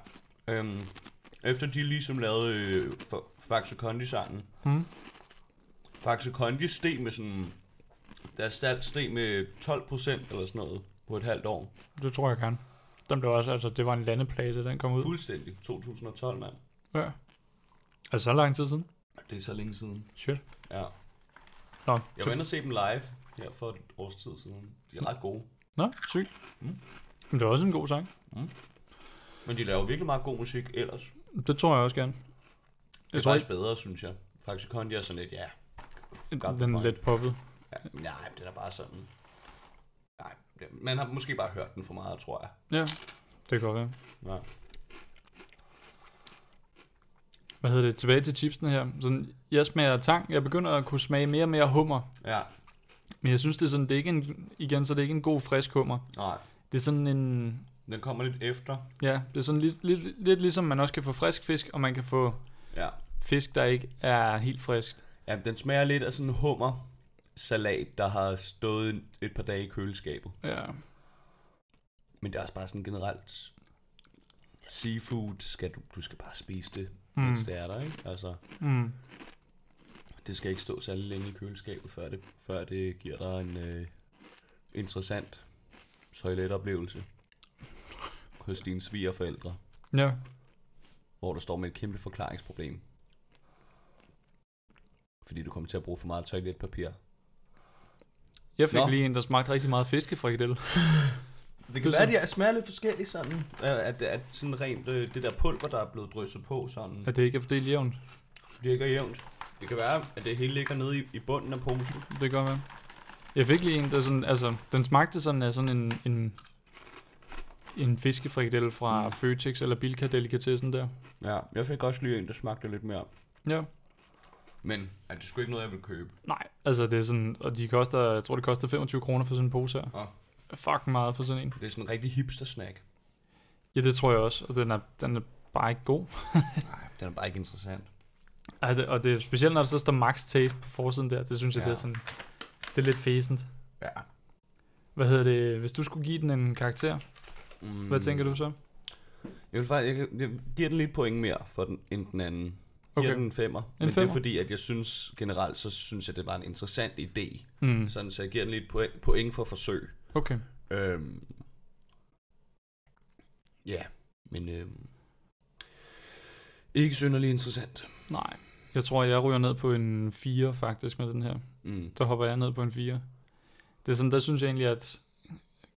Øhm, efter de ligesom lavede øh, Fa- Faxe Kondi-sangen.
Mm.
Faxe Kondi steg med sådan... Deres salg steg med 12 procent eller sådan noget på et halvt år.
Det tror jeg gerne. Den blev også, altså, det var en landeplade, den kom ud.
Fuldstændig. 2012, mand.
Ja. Altså så lang tid siden?
Det er så længe siden.
Shit.
Ja.
Nå,
Jeg var inde og se dem live her for et års tid siden. De er ret gode.
Nå sygt. Mm. Det var også en god sang.
Men de laver virkelig meget god musik ellers.
Det tror jeg også gerne.
Det
Jeg
er
tror
faktisk
ikke,
bedre, synes jeg. Faxe Kondi er sådan lidt, ja, godt
den er
point.
lidt poppet.
Ja, men nej, den er bare sådan... Nej, det- man har måske bare hørt den for meget, tror jeg.
Ja, det kan godt være.
Ja.
Hvad hedder det? Tilbage til chipsene her. Sådan, jeg smager tang. Jeg begynder at kunne smage mere og mere hummer.
ja.
Men jeg synes, det er sådan, det er ikke en, igen, så det er ikke en god frisk hummer.
Nej,
Det er sådan en,
den kommer lidt efter.
ja, det er sådan lidt, lidt, lidt ligesom, man også kan få frisk fisk, og man kan få
Ja.
fisk, der ikke er helt frisk.
ja, den smager lidt af sådan en hummer salat, der har stået et par dage i køleskabet.
Ja,
Men det er også bare sådan generelt seafood, skal du, du skal bare spise det,
Mm.
mens det er der, ikke? Altså,
mm.
det det skal ikke stå særlig længe i køleskabet, før det, før det giver dig en øh, interessant toiletoplevelse hos dine svigerforældre,
Ja.
hvor du står med et kæmpe forklaringsproblem. Fordi du kommer til at bruge for meget toiletpapir.
Jeg fik Nå.
Nå.
lige en, der smagte rigtig meget fiskefrikadelle. kan
Det kan
være,
være, at de smager lidt forskelligt sådan, øh, at, at sådan rent øh, det der pulver, der er blevet drysset på, sådan,
At det ikke Mm. er fordelt jævnt.
det ikke er jævnt. Det kan være, at det hele ligger nede i, i bunden af posen.
Det gør man. Jeg fik lige en, der sådan, altså, den smagte sådan af sådan en, en, en fiskefrikadelle fra mm. Føtex eller Bilka Delikatessen der.
Ja, jeg fik også lige en, der smagte lidt mere.
Ja.
Men er det sgu ikke noget, jeg vil købe.
Nej, altså det er sådan, og de koster, jeg tror det koster 25 kroner for sådan en pose her.
Nå.
Fuck meget for sådan en.
Det er sådan en rigtig hipster-snack.
Ja, det tror jeg også, og den er, den er bare ikke god.
Nej, den er bare ikke interessant.
Ej, det, og det er specielt, når der så står max taste på forsiden der, det synes jeg, ja.
Ja.
det er sådan, det er lidt fæsent.
Ja.
Hvad hedder det, hvis du skulle give den en karakter,
Mm.
hvad tænker du så?
Jeg vil faktisk, jeg, kan- jeg giver den lidt point mere for den, end den anden. Okay.
Okay.
Giver den en femmer. men det
femmer?
er fordi, at jeg synes generelt, så synes jeg, det var en interessant idé.
Mm.
Sådan, så jeg giver den lidt point, point for forsøg.
Okay.
Øhm. Ja, men øhm. ikke synderlig interessant.
Nej. Jeg tror, jeg ryger ned på en 4 faktisk med den her.
Mm.
Der hopper jeg ned på en 4. Det er sådan, der synes jeg egentlig, at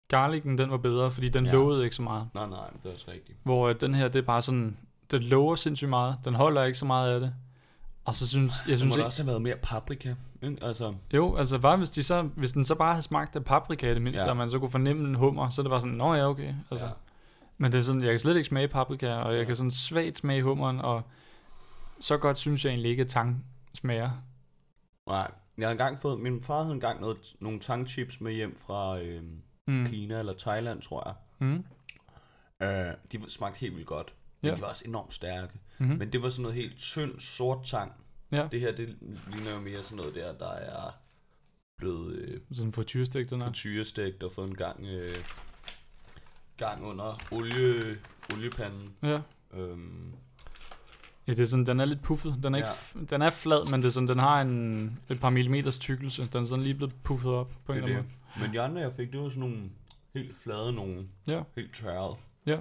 garlicen den var bedre, fordi den ja.
Ja.
lovede ikke så meget.
Nej, nej, det er også rigtigt.
Hvor at den her, det er bare sådan, den lover sindssygt meget, den holder ikke så meget af det. Og så synes jeg,
Så må
synes
der
ikke,
også have været mere paprika. Ikke? Altså,
jo, altså bare hvis, de så, hvis den så bare havde smagt af paprika i det mindste, ja.
Ja.
og man så kunne fornemme en hummer, så er det bare sådan, nå ja, okay. Altså,
altså,
ja. Men det er sådan, jeg kan slet ikke smage paprika, og jeg ja. kan sådan svagt smage hummeren, og så godt synes jeg egentlig ikke, at tang smager.
Nej, jeg har engang fået, min far havde engang noget, nogle tangchips med hjem fra øhm,
Mm.
Kina eller Thailand, tror jeg.
Mm.
Øh, de smagte helt vildt godt, men
Ja.
ja. de var også enormt stærke.
Mhm.
Mm-hmm. Men det var sådan noget helt tynd, sort tang.
Ja.
Det her, det ligner jo mere sådan noget der, der er blevet øh,
Sådan for tyrestik, den er.
frityrestegt og fået en gang, øh, gang under olie, oliepanden.
Ja.
Øhm,
Ja, det er sådan, den er lidt puffet. Den er, ikke, f- den er flad, men det er sådan, den har en, et par millimeters tykkelse. Den er sådan lige blevet puffet op på en
det er
eller anden
det.
måde.
Men de andre, jeg fik, det var sådan nogle helt flade nogle,
Ja,
helt tørrede.
det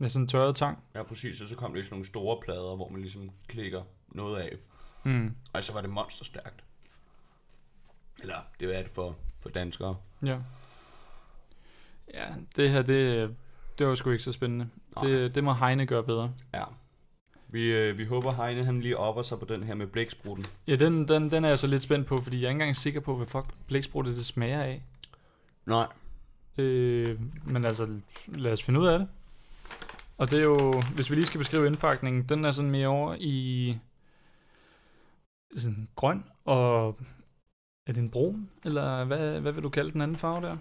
er sådan en tørret tang.
Ja, præcis. Og så kom det i sådan nogle store plader, hvor man ligesom klikker noget af.
Mm.
Og så var det monsterstærkt. Eller, det er det for, for danskere.
Ja. Ja, det her, det, det var sgu ikke så spændende.
Nej.
Det, det må Heine gøre bedre.
Ja. Vi, øh, vi håber, Heine han lige opper sig på den her med blæksprutten.
Ja, den, den, den er jeg så lidt spændt på, fordi jeg er ikke engang sikker på, hvad fuck blæksprutte det smager af.
Nej.
Øh, men altså, lad os finde ud af det. Og det er jo, hvis vi lige skal beskrive indpakningen, den er sådan mere over i sådan grøn, og er det en brun, eller hvad, hvad vil du kalde den anden farve der?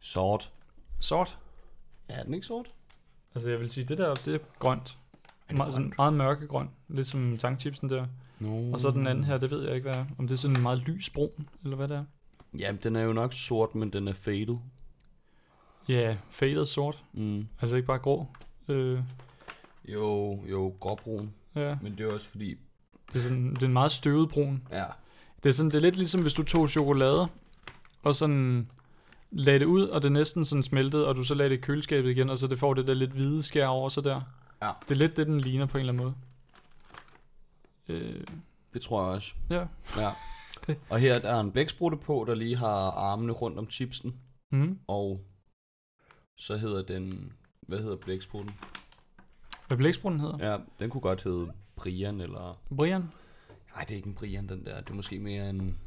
Sort.
Sort?
Ja, er den ikke sort?
Altså jeg vil sige, det der, det er grønt. Er
det
det Sådan
grønt?
meget mørkegrøn, lidt som tangchipsen der.
No.
Og så den anden her, det ved jeg ikke, hvad er. Om det er sådan en meget lys brun, eller hvad det er.
Jamen, den er jo nok sort, men den er faded.
Ja, yeah, faded sort.
Mm.
Altså ikke bare grå. Øh,
Jo, jo, gråbrun.
ja.
Men det er også fordi...
Det er, sådan, det er en meget støvet brun.
Ja.
Det er, sådan, det er lidt ligesom, hvis du tog chokolade, og sådan lagde det ud, og det næsten sådan smeltede, og du så lagde det i køleskabet igen, og så det får det der lidt hvide skær over sig der.
Ja.
Det er lidt det, den ligner på en eller anden måde. Øh,
Det tror jeg også.
ja.
Ja. Og her der er en blæksprutte på, der lige har armene rundt om chipsen.
Mm.
Og så hedder den... Hvad hedder blæksprutten?
Hvad blæksprutten hedder?
Ja, den kunne godt hedde Brian, eller...
Ja. Brian?
Nej, det er ikke en Brian, den der. Det er måske mere en...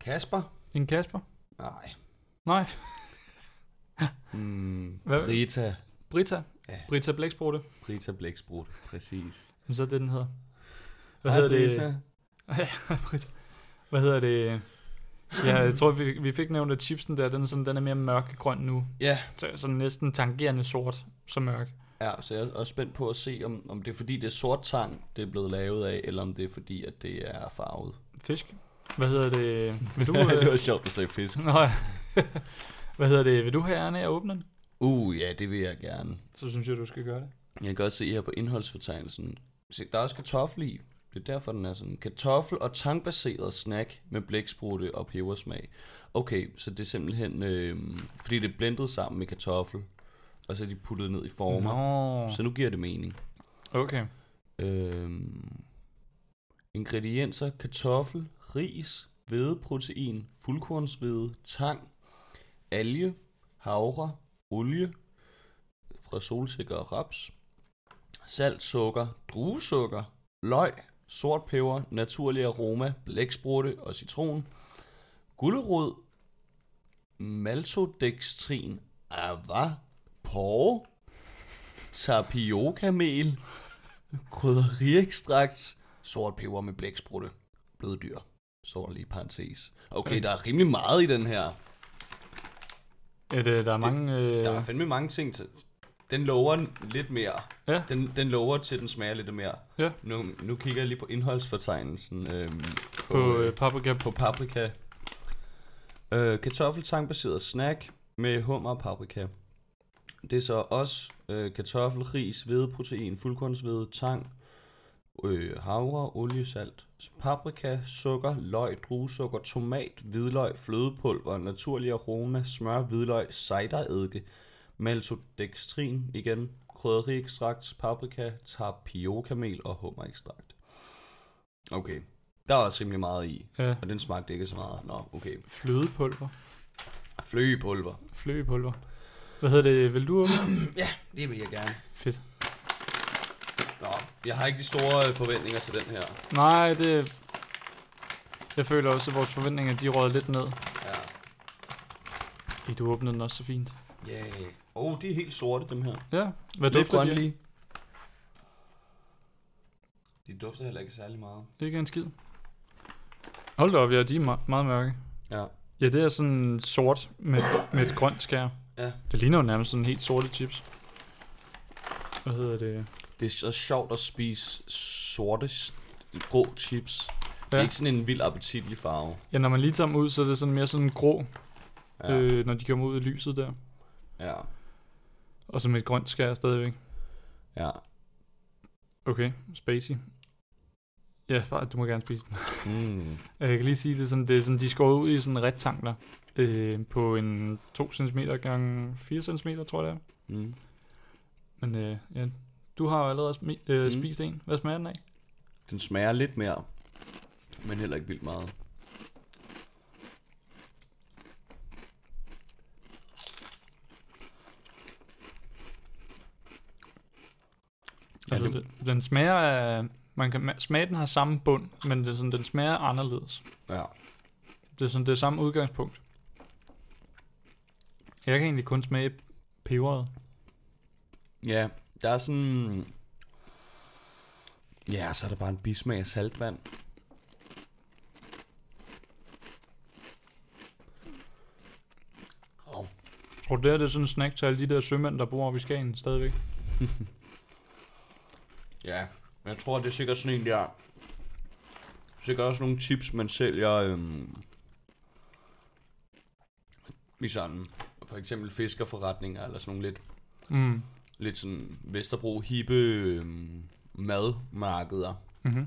Kasper?
En Kasper?
Nej.
Nej,
Mm,
Hvad-
Rita.
Brita.
Ja.
Brita Blæksprutte.
Rita Blæksprut, præcis.
Jamen, Så er det, den hedder. Hvad hedder det? Brita. Hvad hedder det? Ja, jeg tror, vi, vi fik nævnt, at chipsen der, den er, sådan, den er mere mørkegrøn nu.
Ja,
Så, sådan næsten tangerende sort, så mørk.
ja, så jeg er også spændt på at se, om, om det er fordi, det er sort tang, det er blevet lavet af, eller om det er fordi, at det er farvet.
Fisk. Hvad hedder det? Vil du...
det
øh...
var sjovt at sige fisk.
Nå, ja. Hvad hedder det? Vil du have æren af at åbne den?
Uh, ja, det vil jeg gerne.
Så synes jeg, du skal gøre det.
Jeg kan også se her på indholdsfortegnelsen, Se, der er også kartoffel i. Det er derfor, den er sådan. Kartoffel og tangbaseret snack med blæksprutte og pebersmag. Okay, så det er simpelthen, øh, fordi det er blendet sammen med kartoffel, og så er de puttet ned i former.
Nå.
Så nu giver det mening.
Okay.
Øhm, ingredienser, kartoffel, ris, hvedeprotein, fuldkornshvede, tang, alge, havre, olie fra solsikker og raps, salt, sukker, druesukker, løg, sort peber, naturlig aroma, blæksprutte og citron, gulerod, maltodextrin, ava, porre, tapiokamel, krydderiekstrakt, sort peber med blæksprutte, bløddyr. Så var der lige parentes. Okay, der er rimelig meget i den her.
Ja, det, der er mange... Øh,
Der er fandme mange ting til. Den lover en lidt mere.
Ja.
Den, den lover til, den smager lidt mere.
Ja.
Nu, nu kigger jeg lige på indholdsfortegnelsen. Øhm,
på øh, paprika på...
på paprika. Øh, kartoffeltangbaseret snack med hummer og paprika. Det er så også øh, kartoffel, ris, hvedeprotein, fuldkornshvede, tang, øh, havre, olie, salt, paprika, sukker, løg, druesukker, tomat, hvidløg, flødepulver, naturlig aroma, smør, hvidløg, cideredike, maltodextrin igen, krydderiekstrakt, paprika, tapiokamel og hummerekstrakt. Okay, der er også rimelig meget i.
Ja,
Og den smagte ikke så meget. Nå, okay.
flødepulver.
Fløgepulver.
Flødepulver. Hvad hedder det? Vil du åbne?
Ja, det vil jeg gerne.
Fedt.
Nå, jeg har ikke de store øh, forventninger til den her.
Nej, det... Jeg føler også, at vores forventninger, de råd lidt ned.
Ja.
I du åbnede den også så fint.
Yeah. Åh, oh, de er helt sorte, dem her.
Ja, hvad dufter de? af?
grønlige. De dufter heller ikke særlig meget.
Det er ikke en skid. Hold da op, ja, de er me- meget mørke.
Ja.
Ja, det er sådan sort med, med et grønt skær.
Ja.
Det ligner jo nærmest sådan helt sorte chips. Hvad hedder det?
Det er så sjovt at spise sorte, s- grå chips. Det er
Ja.
ikke sådan en vild appetitlig farve.
Ja, når man lige tager dem ud, så er det sådan mere sådan grå,
Ja.
ja. øh, når de kommer ud i lyset der.
ja.
Og så med et grønt skær stadigvæk.
ja.
Okay, spacey. Ja, bare- du må gerne spise den.
Mm.
Jeg kan lige sige det, som det er sådan, de er skåret ud i sådan rektangler øh, på en 2 cm gange 4 cm, tror jeg det er.
Mm.
Men øh, ja, du har jo allerede smi- øh,
Mm.
mm. spist en. Hvad smager den af?
Den smager lidt mere, men heller ikke vildt meget. Ja,
Altså,
det-
det... den smager af... Man kan ma- smage, den har samme bund, men det er sådan, den smager anderledes.
Ja.
Det er sådan, det er samme udgangspunkt. Jeg kan egentlig kun smage peberet.
Ja, der er sådan... Ja, så er der bare en bismag af saltvand. Oh.
Jeg tror, det her det er sådan en snack til alle de der sømænd, der bor oppe i Skagen stadigvæk.
Ja, jeg tror, det er sikkert sådan en der... Sikkert også nogle chips, man sælger... Øhm, I sådan... For eksempel fiskerforretninger, eller sådan nogle lidt,
Mm.
lidt sådan Vesterbro hippe øhm, madmarkeder.
Mm-hmm.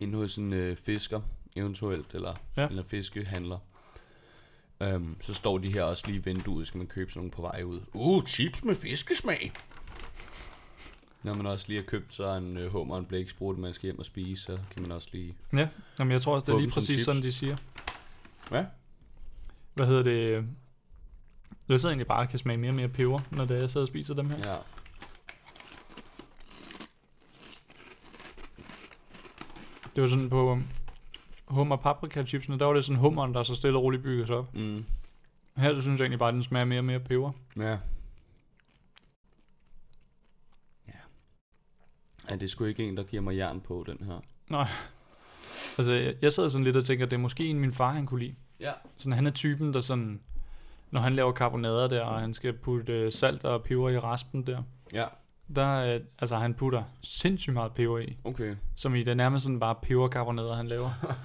inde hos en øh, fisker eventuelt, eller, ja.
Ja.
eller fiskehandler. Øhm, så står de her også lige i vinduet, skal man købe sådan nogle på vej ud. Uh, chips med fiskesmag! Når man også lige har købt så en øh, hummer og en blæksprutte, man skal hjem og spise, så kan man også lige...
Ja, Jamen, jeg tror også, det
Få
er
dem
lige
som
præcis
chips.
sådan, de siger.
Ja.
Hvad hedder det? Jeg sidder egentlig bare og kan smage mere og mere peber, når det er, jeg sidder og spiser dem her.
Ja.
Det var sådan på um, hummer paprika chipsene, der var det sådan hummeren, der så stille og roligt bygges op.
Mm.
Her så synes jeg egentlig bare, at den smager mere og mere peber.
Ja. Ja. Ja, det er sgu ikke en, der giver mig jern på, den her.
Altså, jeg, jeg sad sådan lidt og tænker, at det er måske en, min far han kunne lide.
Ja.
Sådan, han er typen, der sådan, når han laver karbonader der, og han skal putte øh, salt og peber i raspen der,
Ja,
der, øh, altså han putter sindssygt meget peber i,
okay.
som i det er nærmest sådan bare peberkarbonader, han laver.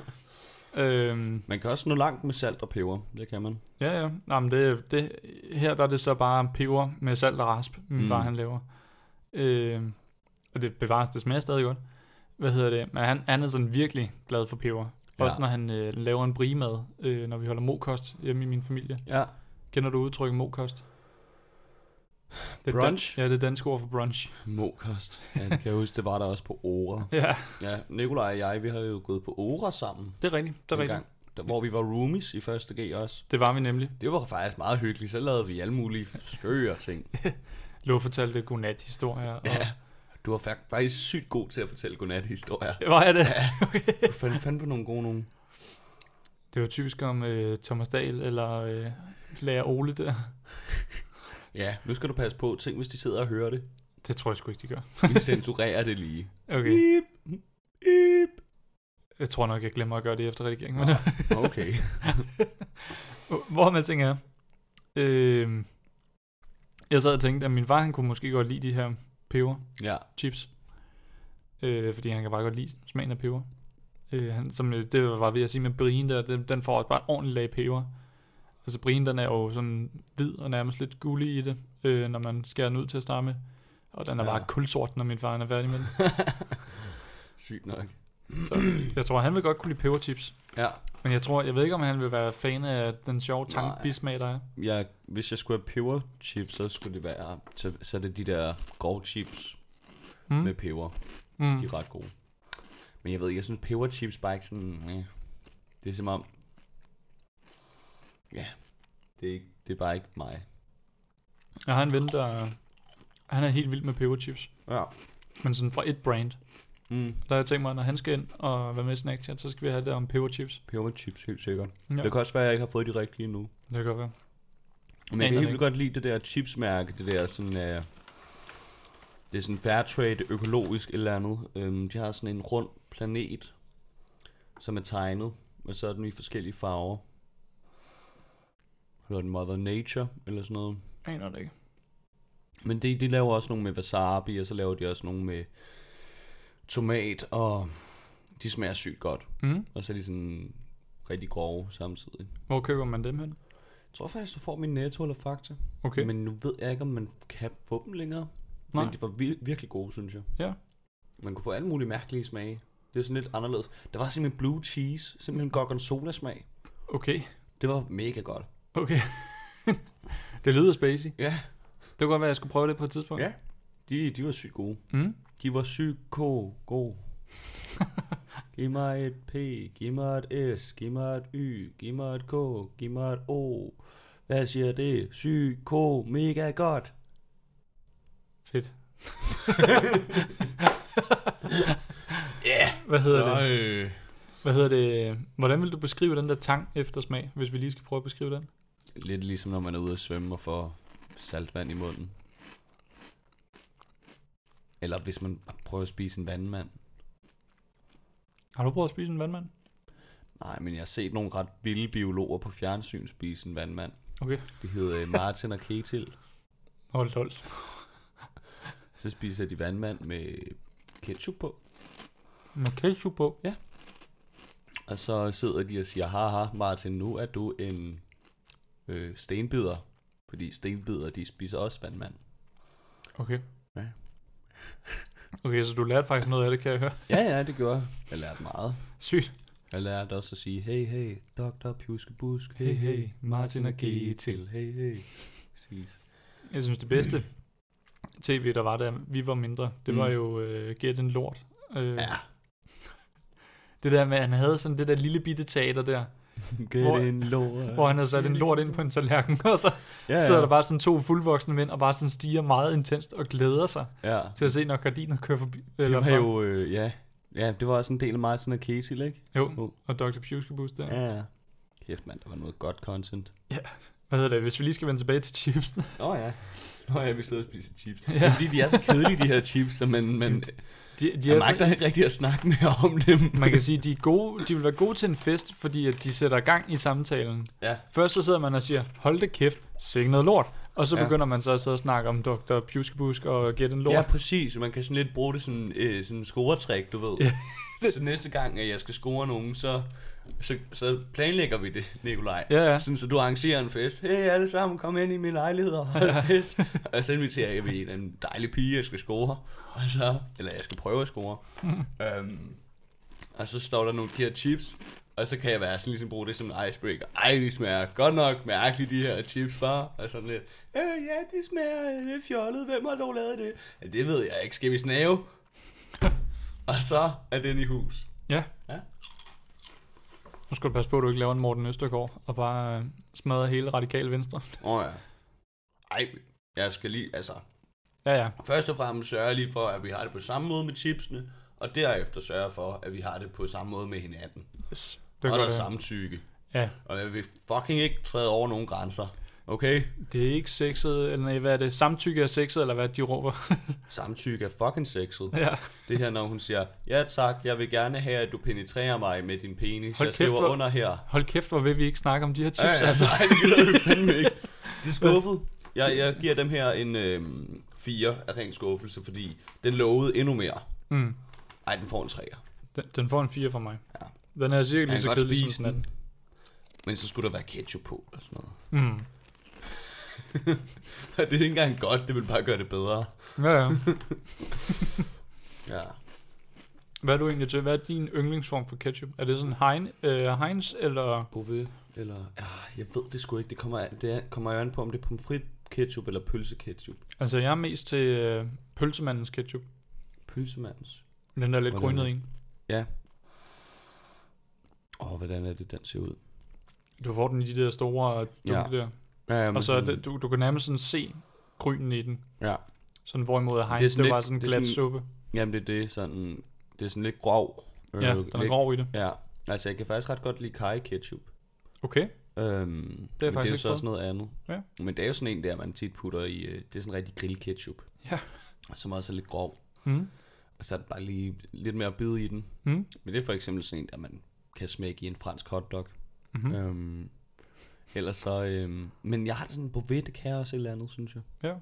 øhm,
Man kan også nå langt med salt og peber, det kan man.
Ja, ja. Nå, men det, det, her der er det så bare peber med salt og rasp, min
Mm.
mm. far han laver. Øh, og det bevares, det smager stadig godt. Hvad hedder det? Men han, han er sådan virkelig glad for peber. Ja.
Ja.
Også når han øh, laver en brimad, øh, når vi holder mokost hjemme i min familie.
Ja.
Kender du udtrykket mokost? Det er
Brunch?
Dan- ja, det er dansk ord for brunch.
Mokost. Ja, det kan jeg huske, det var der også på Ora.
Ja,
Ja, Nikolaj og jeg, vi har jo gået på Ora sammen
det er rigtigt. Det er rigtigt.
gang, der- hvor vi var roomies i 1. G også.
Det var vi nemlig.
Det var faktisk meget hyggeligt, så lavede vi alle mulige skøre ting.
Lå fortalte godnat-historier. Og... Ja.
Du var fak- faktisk sygt god til at fortælle godnat-historier.
Var jeg det? Okay.
Du fandt, fandt på nogle gode nogle.
Det var typisk om øh, Thomas Dahl eller øh, Lærer Ole der.
Ja, nu skal du passe på. Tænk, hvis de sidder og hører det.
Det tror jeg sgu ikke, de gør.
Vi censurerer det lige.
Okay.
Bip, bip.
Jeg tror nok, jeg glemmer at gøre det efter redigeringen. Men,
Okay.
hvor man tænker er, øh, jeg sad og tænkte, at min far, han kunne måske godt lide de her peber.
Ja,
chips. Øh, fordi han kan bare godt lide smagen af peber. Øh, han, som øh, det var ved at sige med brien der, den, den får også bare et ordentligt lag peber. Altså brien, den er jo sådan hvid og nærmest lidt gullig i det, øh, når man skærer den ud til at starte med. Og den er ja.
Ja.
bare kulsort, når min far han er færdig med den.
sygt nok.
Så jeg tror, han vil godt kunne lide peberchips.
Ja,
Men jeg tror, jeg ved ikke, om han vil være fan af den sjove
Nej.
tankbismag, der er.
jeg, hvis jeg skulle have peberchips, så skulle det være, så, så er det de der grove chips
Mm.
med peber.
Mm.
De er ret gode. Men jeg ved ikke, jeg synes peberchips bare ikke sådan... Ja. Det er som om... Ja, det er, ikke, det er bare ikke mig.
Jeg har en ven, der han er helt vild med peberchips.
Ja.
Men sådan fra et brand.
Mm.
Der har jeg tænkt mig, at når han skal ind og være med i Snack Chat, så skal vi have det om peberchips.
Peberchips, helt sikkert.
Ja,
Ja. Det kan også være, at jeg ikke har fået de rigtige endnu.
det kan godt være.
Men
Aner
jeg kan
det
helt vildt godt lide det der chipsmærke, det der sådan, øh, det er sådan fairtrade, økologisk eller andet. Øhm, de har sådan en rund planet, som er tegnet, og så er den i forskellige farver. Eller den Mother Nature, eller sådan noget.
Jeg aner det ikke.
Men de, de laver også nogle med wasabi, og så laver de også nogle med tomat, og de smager sygt godt.
Mm.
Og så er de sådan rigtig grove samtidig.
Hvor køber man dem hen?
Jeg tror faktisk, du får min netto eller fakta.
Okay. Men,
Men nu ved jeg ikke, om man kan få dem længere.
Nej.
Nej. Men de var vir- virkelig gode, synes jeg.
Ja.
Man kunne få alle mulige mærkelige smage. Det er sådan lidt anderledes. Der var simpelthen blue cheese, simpelthen gorgonzola smag.
Okay.
Det var mega godt.
Okay. det lyder spacey.
Ja.
Det kunne godt være, at jeg skulle prøve det på et tidspunkt.
Ja. De, de var sygt gode.
Mm.
De var sygt ko- gode. giv mig et P, giv mig et S, giv mig et Y, giv mig et K, giv mig et O. Hvad siger det? Syg, ko, mega godt.
Fedt. yeah. Hvad hedder det?
Så, øh,
Hvad hedder det? Hvordan vil du beskrive den der tang eftersmag, hvis vi lige skal prøve at beskrive den?
Lidt ligesom når man er ude at svømme og får saltvand i munden. Eller hvis man prøver at spise en vandmand.
Har du prøvet at spise en vandmand?
Nej, men jeg har set nogle ret vilde biologer på fjernsyn spise en vandmand.
Okay.
De hedder øh, Martin og Ketil.
Åh, oh, lol.
Så spiser de vandmand med ketchup på.
Med ketchup på.
Og så sidder de og siger, haha Martin, nu er du en øh, stenbider. Fordi stenbider, de spiser også vandmand.
Okay.
Ja.
Okay, så du lærte faktisk noget af det, kan jeg høre.
Ja, ja, det gjorde jeg. Jeg lærte meget.
Sygt.
Jeg lærte også at sige, hey, hey, doktor, pjuske, busk, hey, hey, Martin og Ketil, hey, hey. Præcis.
Jeg synes, det bedste tv, der var, da vi var mindre, det mm.
Mm.
var jo øh, Get en Lort. Øh,
Ja.
Det der med, at han havde sådan det der lille bitte teater der,
Get
Hvor-
in, Laura.
hvor han havde sat en lort ind på en tallerken, og så
ja,
ja,
ja.
ja. sidder der bare sådan to fuldvoksne mænd, og bare sådan stiger meget intenst og glæder sig
Ja.
til at se, når gardinet kører forbi.
Det var
fra-
jo, øh, ja. Ja, det var også en del af Martin og Ketil, ikke?
jo.
Jo.
Og Dr. Pjuskebus der. Ja.
Ja, ja. Kæft, mand, der var noget godt content.
Hvad hedder det, hvis vi lige skal vende tilbage til chipsene.
Nå ja. Nå ja, vi sidder og spiser chips. Ja.
Ja.
Det er fordi, de er så kedelige, de her chips, så man, man,
De, de
man
er så,
magter ikke rigtig at snakke mere om dem.
man kan sige, de er gode, de vil være gode til en fest, fordi at de sætter gang i samtalen.
Ja.
Først så sidder man og siger, hold det kæft, sikke noget lort. Og så ja.
Ja.
begynder man så at sidde og snakke om Dr. Pjuskebusk og Get en Lort.
Ja, præcis. Man kan sådan lidt bruge det som øh, sådan en scoretræk, du ved. så næste gang, at jeg skal score nogen, så, så, så planlægger vi det, Nikolaj.
Ja, ja.
Sådan, så du arrangerer en fest. Hey alle sammen, kom ind i min lejlighed og hold en fest. og så inviterer jeg en, en dejlig pige, jeg skal score. Og så, eller jeg skal prøve at score.
Mm.
øhm, og så står der nogle de her chips, og så kan jeg være sådan ligesom bruge det som en icebreaker. Ej, de smager godt nok mærkeligt, de her chips, far. Og sådan lidt, øh, ja, de smager lidt fjollet. Hvem har dog lavet det? Ja, det ved jeg ikke. Skal vi snave? og så er den i hus.
Ja.
Ja.
Nu skal du passe på, at du ikke laver en Morten Østergaard, og bare øh, smadrer hele radikal venstre.
Åh oh, ja. Ej, jeg skal lige, altså,
Ja, ja.
først og fremmest sørge lige for, at vi har det på samme måde med chipsene, og derefter sørge for, at vi har det på samme måde med hinanden.
Yes.
Og
Det
der
godt,
er
ja.
samtykke.
Ja,
Og jeg vil fucking ikke træde over nogen grænser. Okay?
det er ikke sexet, eller nej, hvad er det? Samtykke er sexet, eller hvad de råber.
Samtykke er fucking sexet.
ja.
Det her, når hun siger, ja tak, jeg vil gerne have, at du penetrerer mig med din penis.
Hold kæft,
jeg skriver
hvor-
under her.
Hold kæft, hvor vil vi ikke snakke om de her chips,
Ja, ja,
altså.
Nej, det gider vi fandme ikke. De er skuffet. Jeg, jeg giver dem her en øhm, 4 af ren skuffelse, fordi den lovede endnu mere.
Mm.
Ej, den får en 3'er.
Den, den får en 4 fra mig.
Ja.
Den er cirka lige
kan
så
godt
kedelig
spise
som den anden.
Men så skulle der være ketchup på og sådan noget.
Mm.
Og det er ikke engang godt, det vil bare gøre det bedre.
Ja, ja.
Ja.
Hvad er du egentlig til? Hvad er din yndlingsform for ketchup? Er det sådan Hein, øh, Heinz, eller...
Bove, eller... Ah, jeg ved det sgu ikke. Det kommer, an- det er- kommer jeg an på, om det er pomfrit ketchup eller pølseketchup.
Altså, jeg er mest til øh, pølsemandens ketchup.
Pølsemandens.
Den der lidt
Hvordan?
grønnede en.
Åh, oh, hvordan er det, den ser ud?
Du får den i de der store øh, dunke ja. der.
Ja, ja, men
Og så er
sådan-
det, du, du kan nærmest sådan se grynen i den.
Ja.
Sådan hvorimod Heinz, det er
er sådan
det var
lidt-
sådan en
det er
glat
sådan-
suppe.
Jamen, det er det sådan... Det er sådan lidt grov. Øh,
Ja, den er
lidt-
grov i det.
Ja. Altså, jeg kan faktisk ret godt lide kaj ketchup.
Okay.
Øhm, det er,
jeg
men det
faktisk
er jo
ikke
så også noget andet.
Ja.
Men det er jo sådan en der, man tit putter i... øh, Det er sådan rigtig grillketchup.
Ja.
Som også er lidt grov.
Mm.
Og så er det bare lige lidt mere bid i den.
Mm.
Men det er for eksempel sådan en, der man kan smække i en fransk hotdog.
Mhm.
Øhm, ellers så... Øhm, men jeg har det sådan, Bové, det kan jeg også et eller andet, synes jeg.
Ja.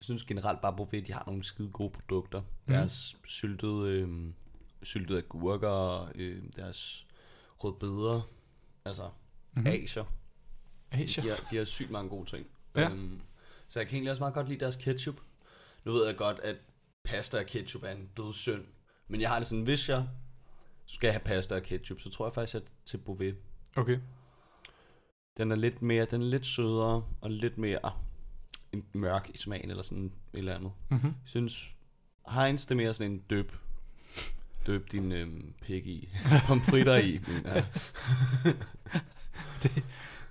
Jeg synes generelt bare, Bové, de har nogle skide gode produkter. Deres
Mhm.
syltede, øhm, syltede agurker, øhm, deres rødbeder, altså
Mhm.
mm-hmm. asier.
Asia.
De har, de har sygt mange gode ting.
Ja.
Øhm, så jeg kan egentlig også meget godt lide deres ketchup. Nu ved jeg godt, at pasta og ketchup er en død synd. Men jeg har det sådan, hvis jeg skal have pasta og ketchup, så tror jeg faktisk, at jeg er til Bové.
Okay.
Den er lidt mere, den er lidt sødere og lidt mere ah, en mørk i smagen eller sådan et eller andet.
Mm-hmm.
Jeg synes, Heinz det er mere sådan en døb. Døb din øhm, pik i. Pomfritter i. Men, ja.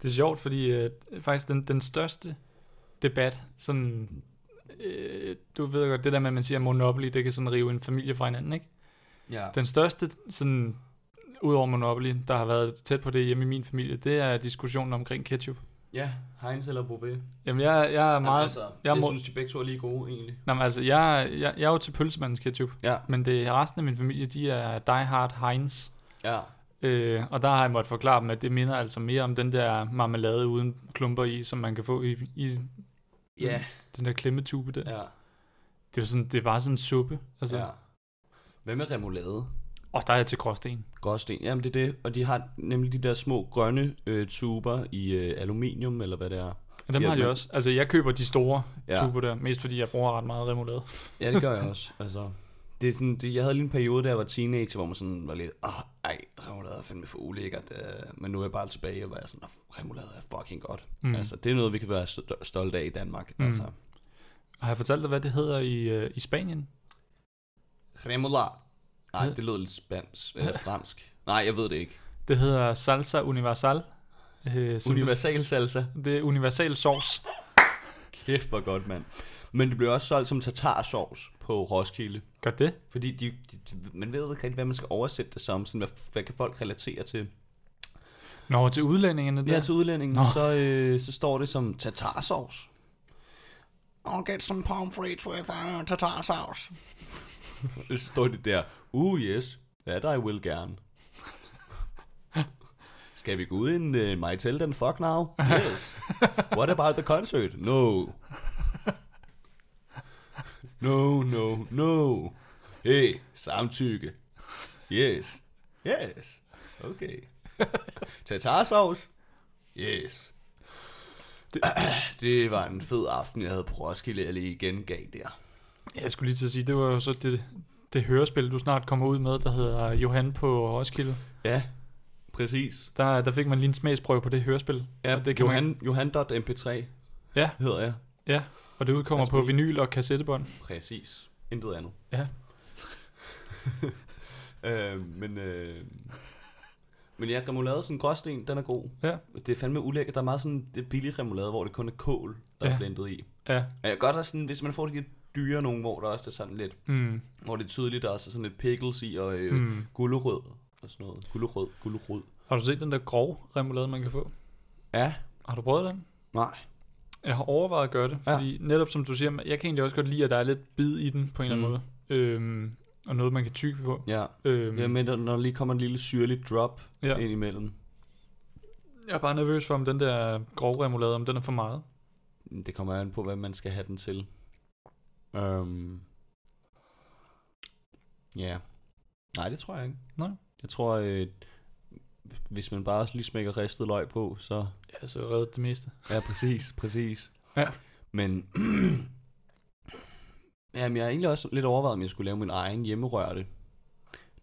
Det er sjovt, fordi øh, faktisk den, den største debat, sådan, øh, du ved godt, det der med, at man siger Monopoly, det kan sådan rive en familie fra hinanden, ikke?
ja.
Den største, sådan, udover Monopoly, der har været tæt på det hjemme i min familie, det er diskussionen omkring ketchup.
ja, Heinz eller Bové.
Jamen, jeg, jeg er meget...
altså,
jeg
jeg,
må-
synes, de begge to er lige gode egentlig.
Nå, men altså, jeg, jeg, jeg er jo til pølsemandens ketchup,
Ja,
men det er resten af min familie, de er die hard Heinz.
ja.
Øh, og der har jeg måttet forklare dem, at det minder altså mere om den der marmelade uden klumper i, som man kan få i, i
Ja,
den der klemmetube der.
ja,
Det er jo sådan, det er bare sådan en suppe. Altså.
ja. Hvad med remoulade?
Og der er jeg til gråsten.
Gråsten, jamen det er det. Og de har nemlig de der små grønne øh, tuber i øh, aluminium, eller hvad det er.
Og dem
Ja,
har de
men-
også. Altså, jeg køber de store ja.
Ja.
tuber der, mest fordi jeg bruger ret meget remoulade.
Ja, det gør jeg også. Altså, det er sådan, det, jeg havde lige en periode, da jeg var teenager, hvor man sådan var lidt, åh, ej, remoulade er fandme for ulækkert. Øh, men nu er jeg bare tilbage, og var jeg sådan, "Åh, remoulade er fucking godt.
Mm.
Mm. Altså, det er noget, vi kan være st- stolte af i Danmark.
Mm.
Mm. Altså,
Har jeg fortalt dig, hvad det hedder i, øh, i Spanien?
remoulade. Nej, det lød lidt spansk, eller fransk. Nej, jeg ved det ikke.
Det hedder salsa universal. Øh, som
Universal salsa.
det er universal sovs.
Kæft, hvor godt, mand. Men det blev også solgt som tatarsovs på Roskilde.
Gør det?
Fordi de, de, de, man ved ikke rigtig, hvad man skal oversætte det som. Sådan, hvad, hvad kan folk relatere til?
Nå, til udlændingene der.
Ja, til udlændingen,
Nå.
så, øh, så står det som tatarsovs.
I'll get some pomfrits with uh, tartar sauce.
Så står det der, uh yes, that I will gerne. Skal vi gå ud in uh, my tell den fuck now? Yes. What about the concert? No. No, no, no. Hey, samtykke. Yes. Yes. Okay. Tatarsovs. Yes. Det, det var en fed aften, jeg havde på Roskilde, jeg lige igen gav der.
Ja, Jeg skulle lige til at sige, det var jo så det, det hørespil, du snart kommer ud med, der hedder Johan på Roskilde.
Ja, præcis.
Der, der fik man lige en smagsprøve på det hørespil.
Ja,
og
det
kan
kan
man-
Johan, man... Johan.mp3
Ja,
hedder jeg.
ja. Og det udkommer
Altså,
på vinyl og kassettebånd.
Præcis. Intet andet.
Ja.
Øh, men, øh, men ja, remoulade sådan en gråsten, den er god.
Ja,
Det er fandme ulækkert. Der er meget sådan det billige remoulade, hvor det kun er kål, der ja.
Ja.
er blendet i.
ja.
Og Jeg kan godt have sådan, hvis man får de lidt dyre nogen, hvor der også er sådan lidt,
Mm.
hvor det er tydeligt, der også er sådan lidt pickles i og øh, mm. gulerød og sådan noget. Gulerød, gulerød.
Har du set den der grov remoulade, man kan få?
Ja,
Har du prøvet den?
nej.
Jeg har overvejet at gøre det,
Ja.
fordi ja. netop som du siger, jeg kan egentlig også godt lide, at der er lidt bid i den på en eller anden måde. Øhm, og noget, man kan tykke på.
Ja.
Øhm,
Jeg mener, når der lige kommer en lille syrlig drop
Ja.
ja. ind imellem.
jeg er bare nervøs for, om den der grove remoulade, om den er for meget.
Det kommer an på, hvad man skal have den til. Um, ja. Nej, det tror jeg ikke.
Nej.
Jeg tror, øh, hvis man bare lige smækker ristet løg på, så...
Ja, så redder det meste.
Ja, præcis, præcis.
Ja.
Men... Jamen, jeg har egentlig også lidt overvejet, om jeg skulle lave min egen hjemmerørte.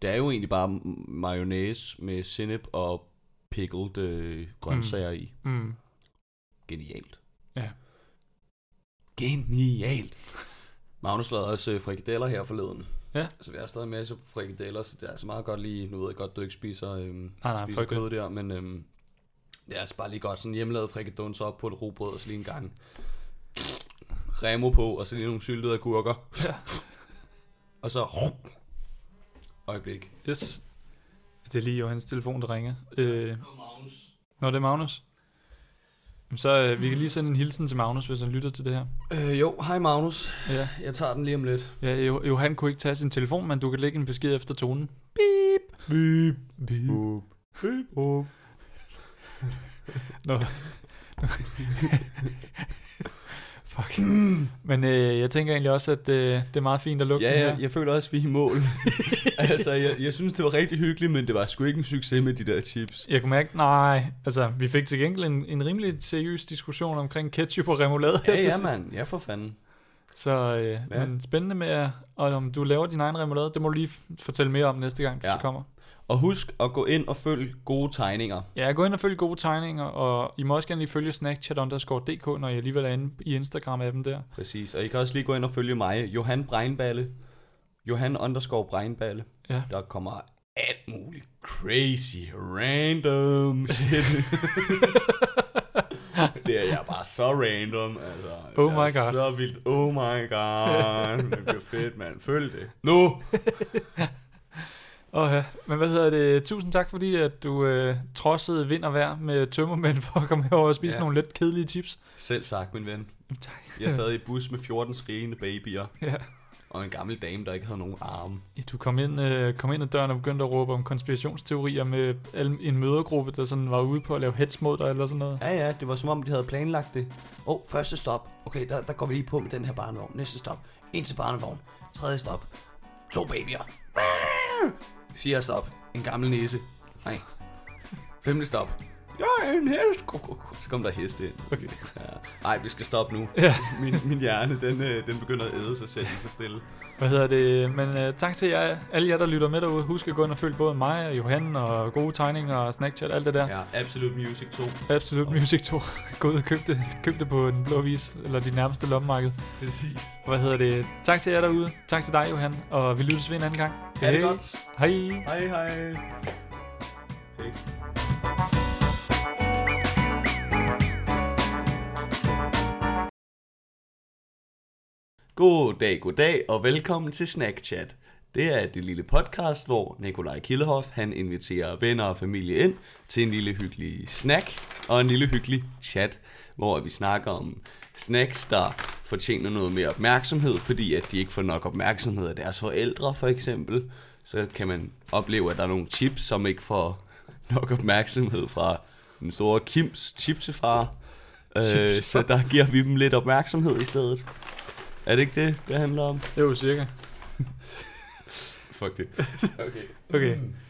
Det er jo egentlig bare m- mayonnaise med sennep og pickled øh, grøntsager mm. i.
Mm.
Genialt.
Ja.
Genialt. Magnus lavede også øh, frikadeller her forleden.
Ja.
Så vi har stadig en masse frikadeller, så det er altså meget godt lige, nu ved jeg godt, du ikke spiser, øhm,
Nej, nej,
spiser
fuck det.
kød der, men øhm, det er altså bare lige godt sådan hjemmelavet frikaduns op på et rugbrød, og så lige en gang remo på, og så lige nogle syltede agurker,
Ja.
og så øjeblik.
Yes. Det er lige Johans telefon, der ringer. Øh, når det er Magnus. Jamen, Så øh, vi kan lige sende en hilsen til Magnus, hvis han lytter til det her.
Øh, jo, hej Magnus.
Ja,
Jeg tager den lige om lidt.
ja jo, Johan kunne ikke tage sin telefon, men du kan lægge en besked efter tonen. Beep. Beep. Beep.
Boop. Boop.
Nå. Fuck. Men øh, jeg tænker egentlig også, at øh, det er meget fint at lukke
Ja,
den
ja,
her.
jeg føler også, at vi er i mål. altså, jeg, jeg synes, det var rigtig hyggeligt, men det var sgu ikke en succes med de der chips.
Jeg kunne mærke, nej, altså vi fik til gengæld en, en rimelig seriøs diskussion omkring ketchup og remoulade her til sidst.
mand. Ja, for fanden.
Så øh,
Ja.
men spændende med, at- og om du laver din egen remoulade, det må du lige f- fortælle mere om næste gang, ja.
Ja.
du kommer.
Og husk at gå ind og følg gode tegninger.
Ja, gå ind og følg gode tegninger, og I må også gerne lige følge snackchat_dk, når jeg alligevel er inde i Instagram-appen der.
Præcis. Og I kan også lige gå ind og følge mig, Johan Breinballe. Johan underscore Breinballe.
Ja.
Der kommer alt muligt crazy, random shit. det er jeg bare så random, altså.
Oh
Jeg er
my god.
Så vildt. Oh my god. Det bliver fedt, mand. Følg det. Nu!
Og, men hvad hedder det? Tusind tak, fordi at du øh, trodsede vind og vejr med tømmermænd for at komme herover og spise ja.
Ja.
nogle lidt kedelige chips.
Selv sagt, min ven.
Tak.
Jeg sad i bus med 14 skrigende babyer
Ja.
og en gammel dame, der ikke havde nogen arme.
Du kom ind, øh, kom ind ad døren og begyndte at råbe om konspirationsteorier med al- en mødergruppe, der sådan var ude på at lave hets mod dig eller sådan noget.
Ja, ja, det var som om, de havde planlagt det. Åh, oh, første stop. Okay, der, der går vi lige på med den her barnevogn. Næste stop. En til barnevogn. Tredje stop. To babyer. Fjerde stop. En gammel næse. Nej. Femte stop. Jeg er en hest. Kuk, kuk, kuk. Så kom der heste ind. Okay. Ja. Ej, vi skal stoppe nu. Ja. Min, min hjerne, den, øh, den begynder at æde sig selv så stille.
Hvad hedder det? Men øh, tak til jer, alle jer, der lytter med derude. Husk at gå ind og følge både mig og Johan og gode tegninger og Snackchat, alt det der. Ja.
Ja, Absolute Music 2.
Absolut Music 2. gå ud og køb det, køb det på den blå vis, eller dit nærmeste lommemarked.
Præcis.
Hvad hedder det? Tak til jer derude. Tak til dig, Johan. Og vi lyttes ved en anden gang.
Ha' det godt.
Hej.
Hej, hej. Hey. God dag, god dag og velkommen til Snackchat. Det er det lille podcast, hvor Nikolaj Killehoff han inviterer venner og familie ind til en lille hyggelig snack og en lille hyggelig chat, hvor vi snakker om snacks, der fortjener noget mere opmærksomhed, fordi at de ikke får nok opmærksomhed af deres forældre for eksempel. Så kan man opleve, at der er nogle chips, som ikke får nok opmærksomhed fra den store Kims chipsefar. Øh, så der giver vi dem lidt opmærksomhed i stedet. Er det ikke det, det handler om?
Jo, cirka.
fuck det. Okay.
Okay.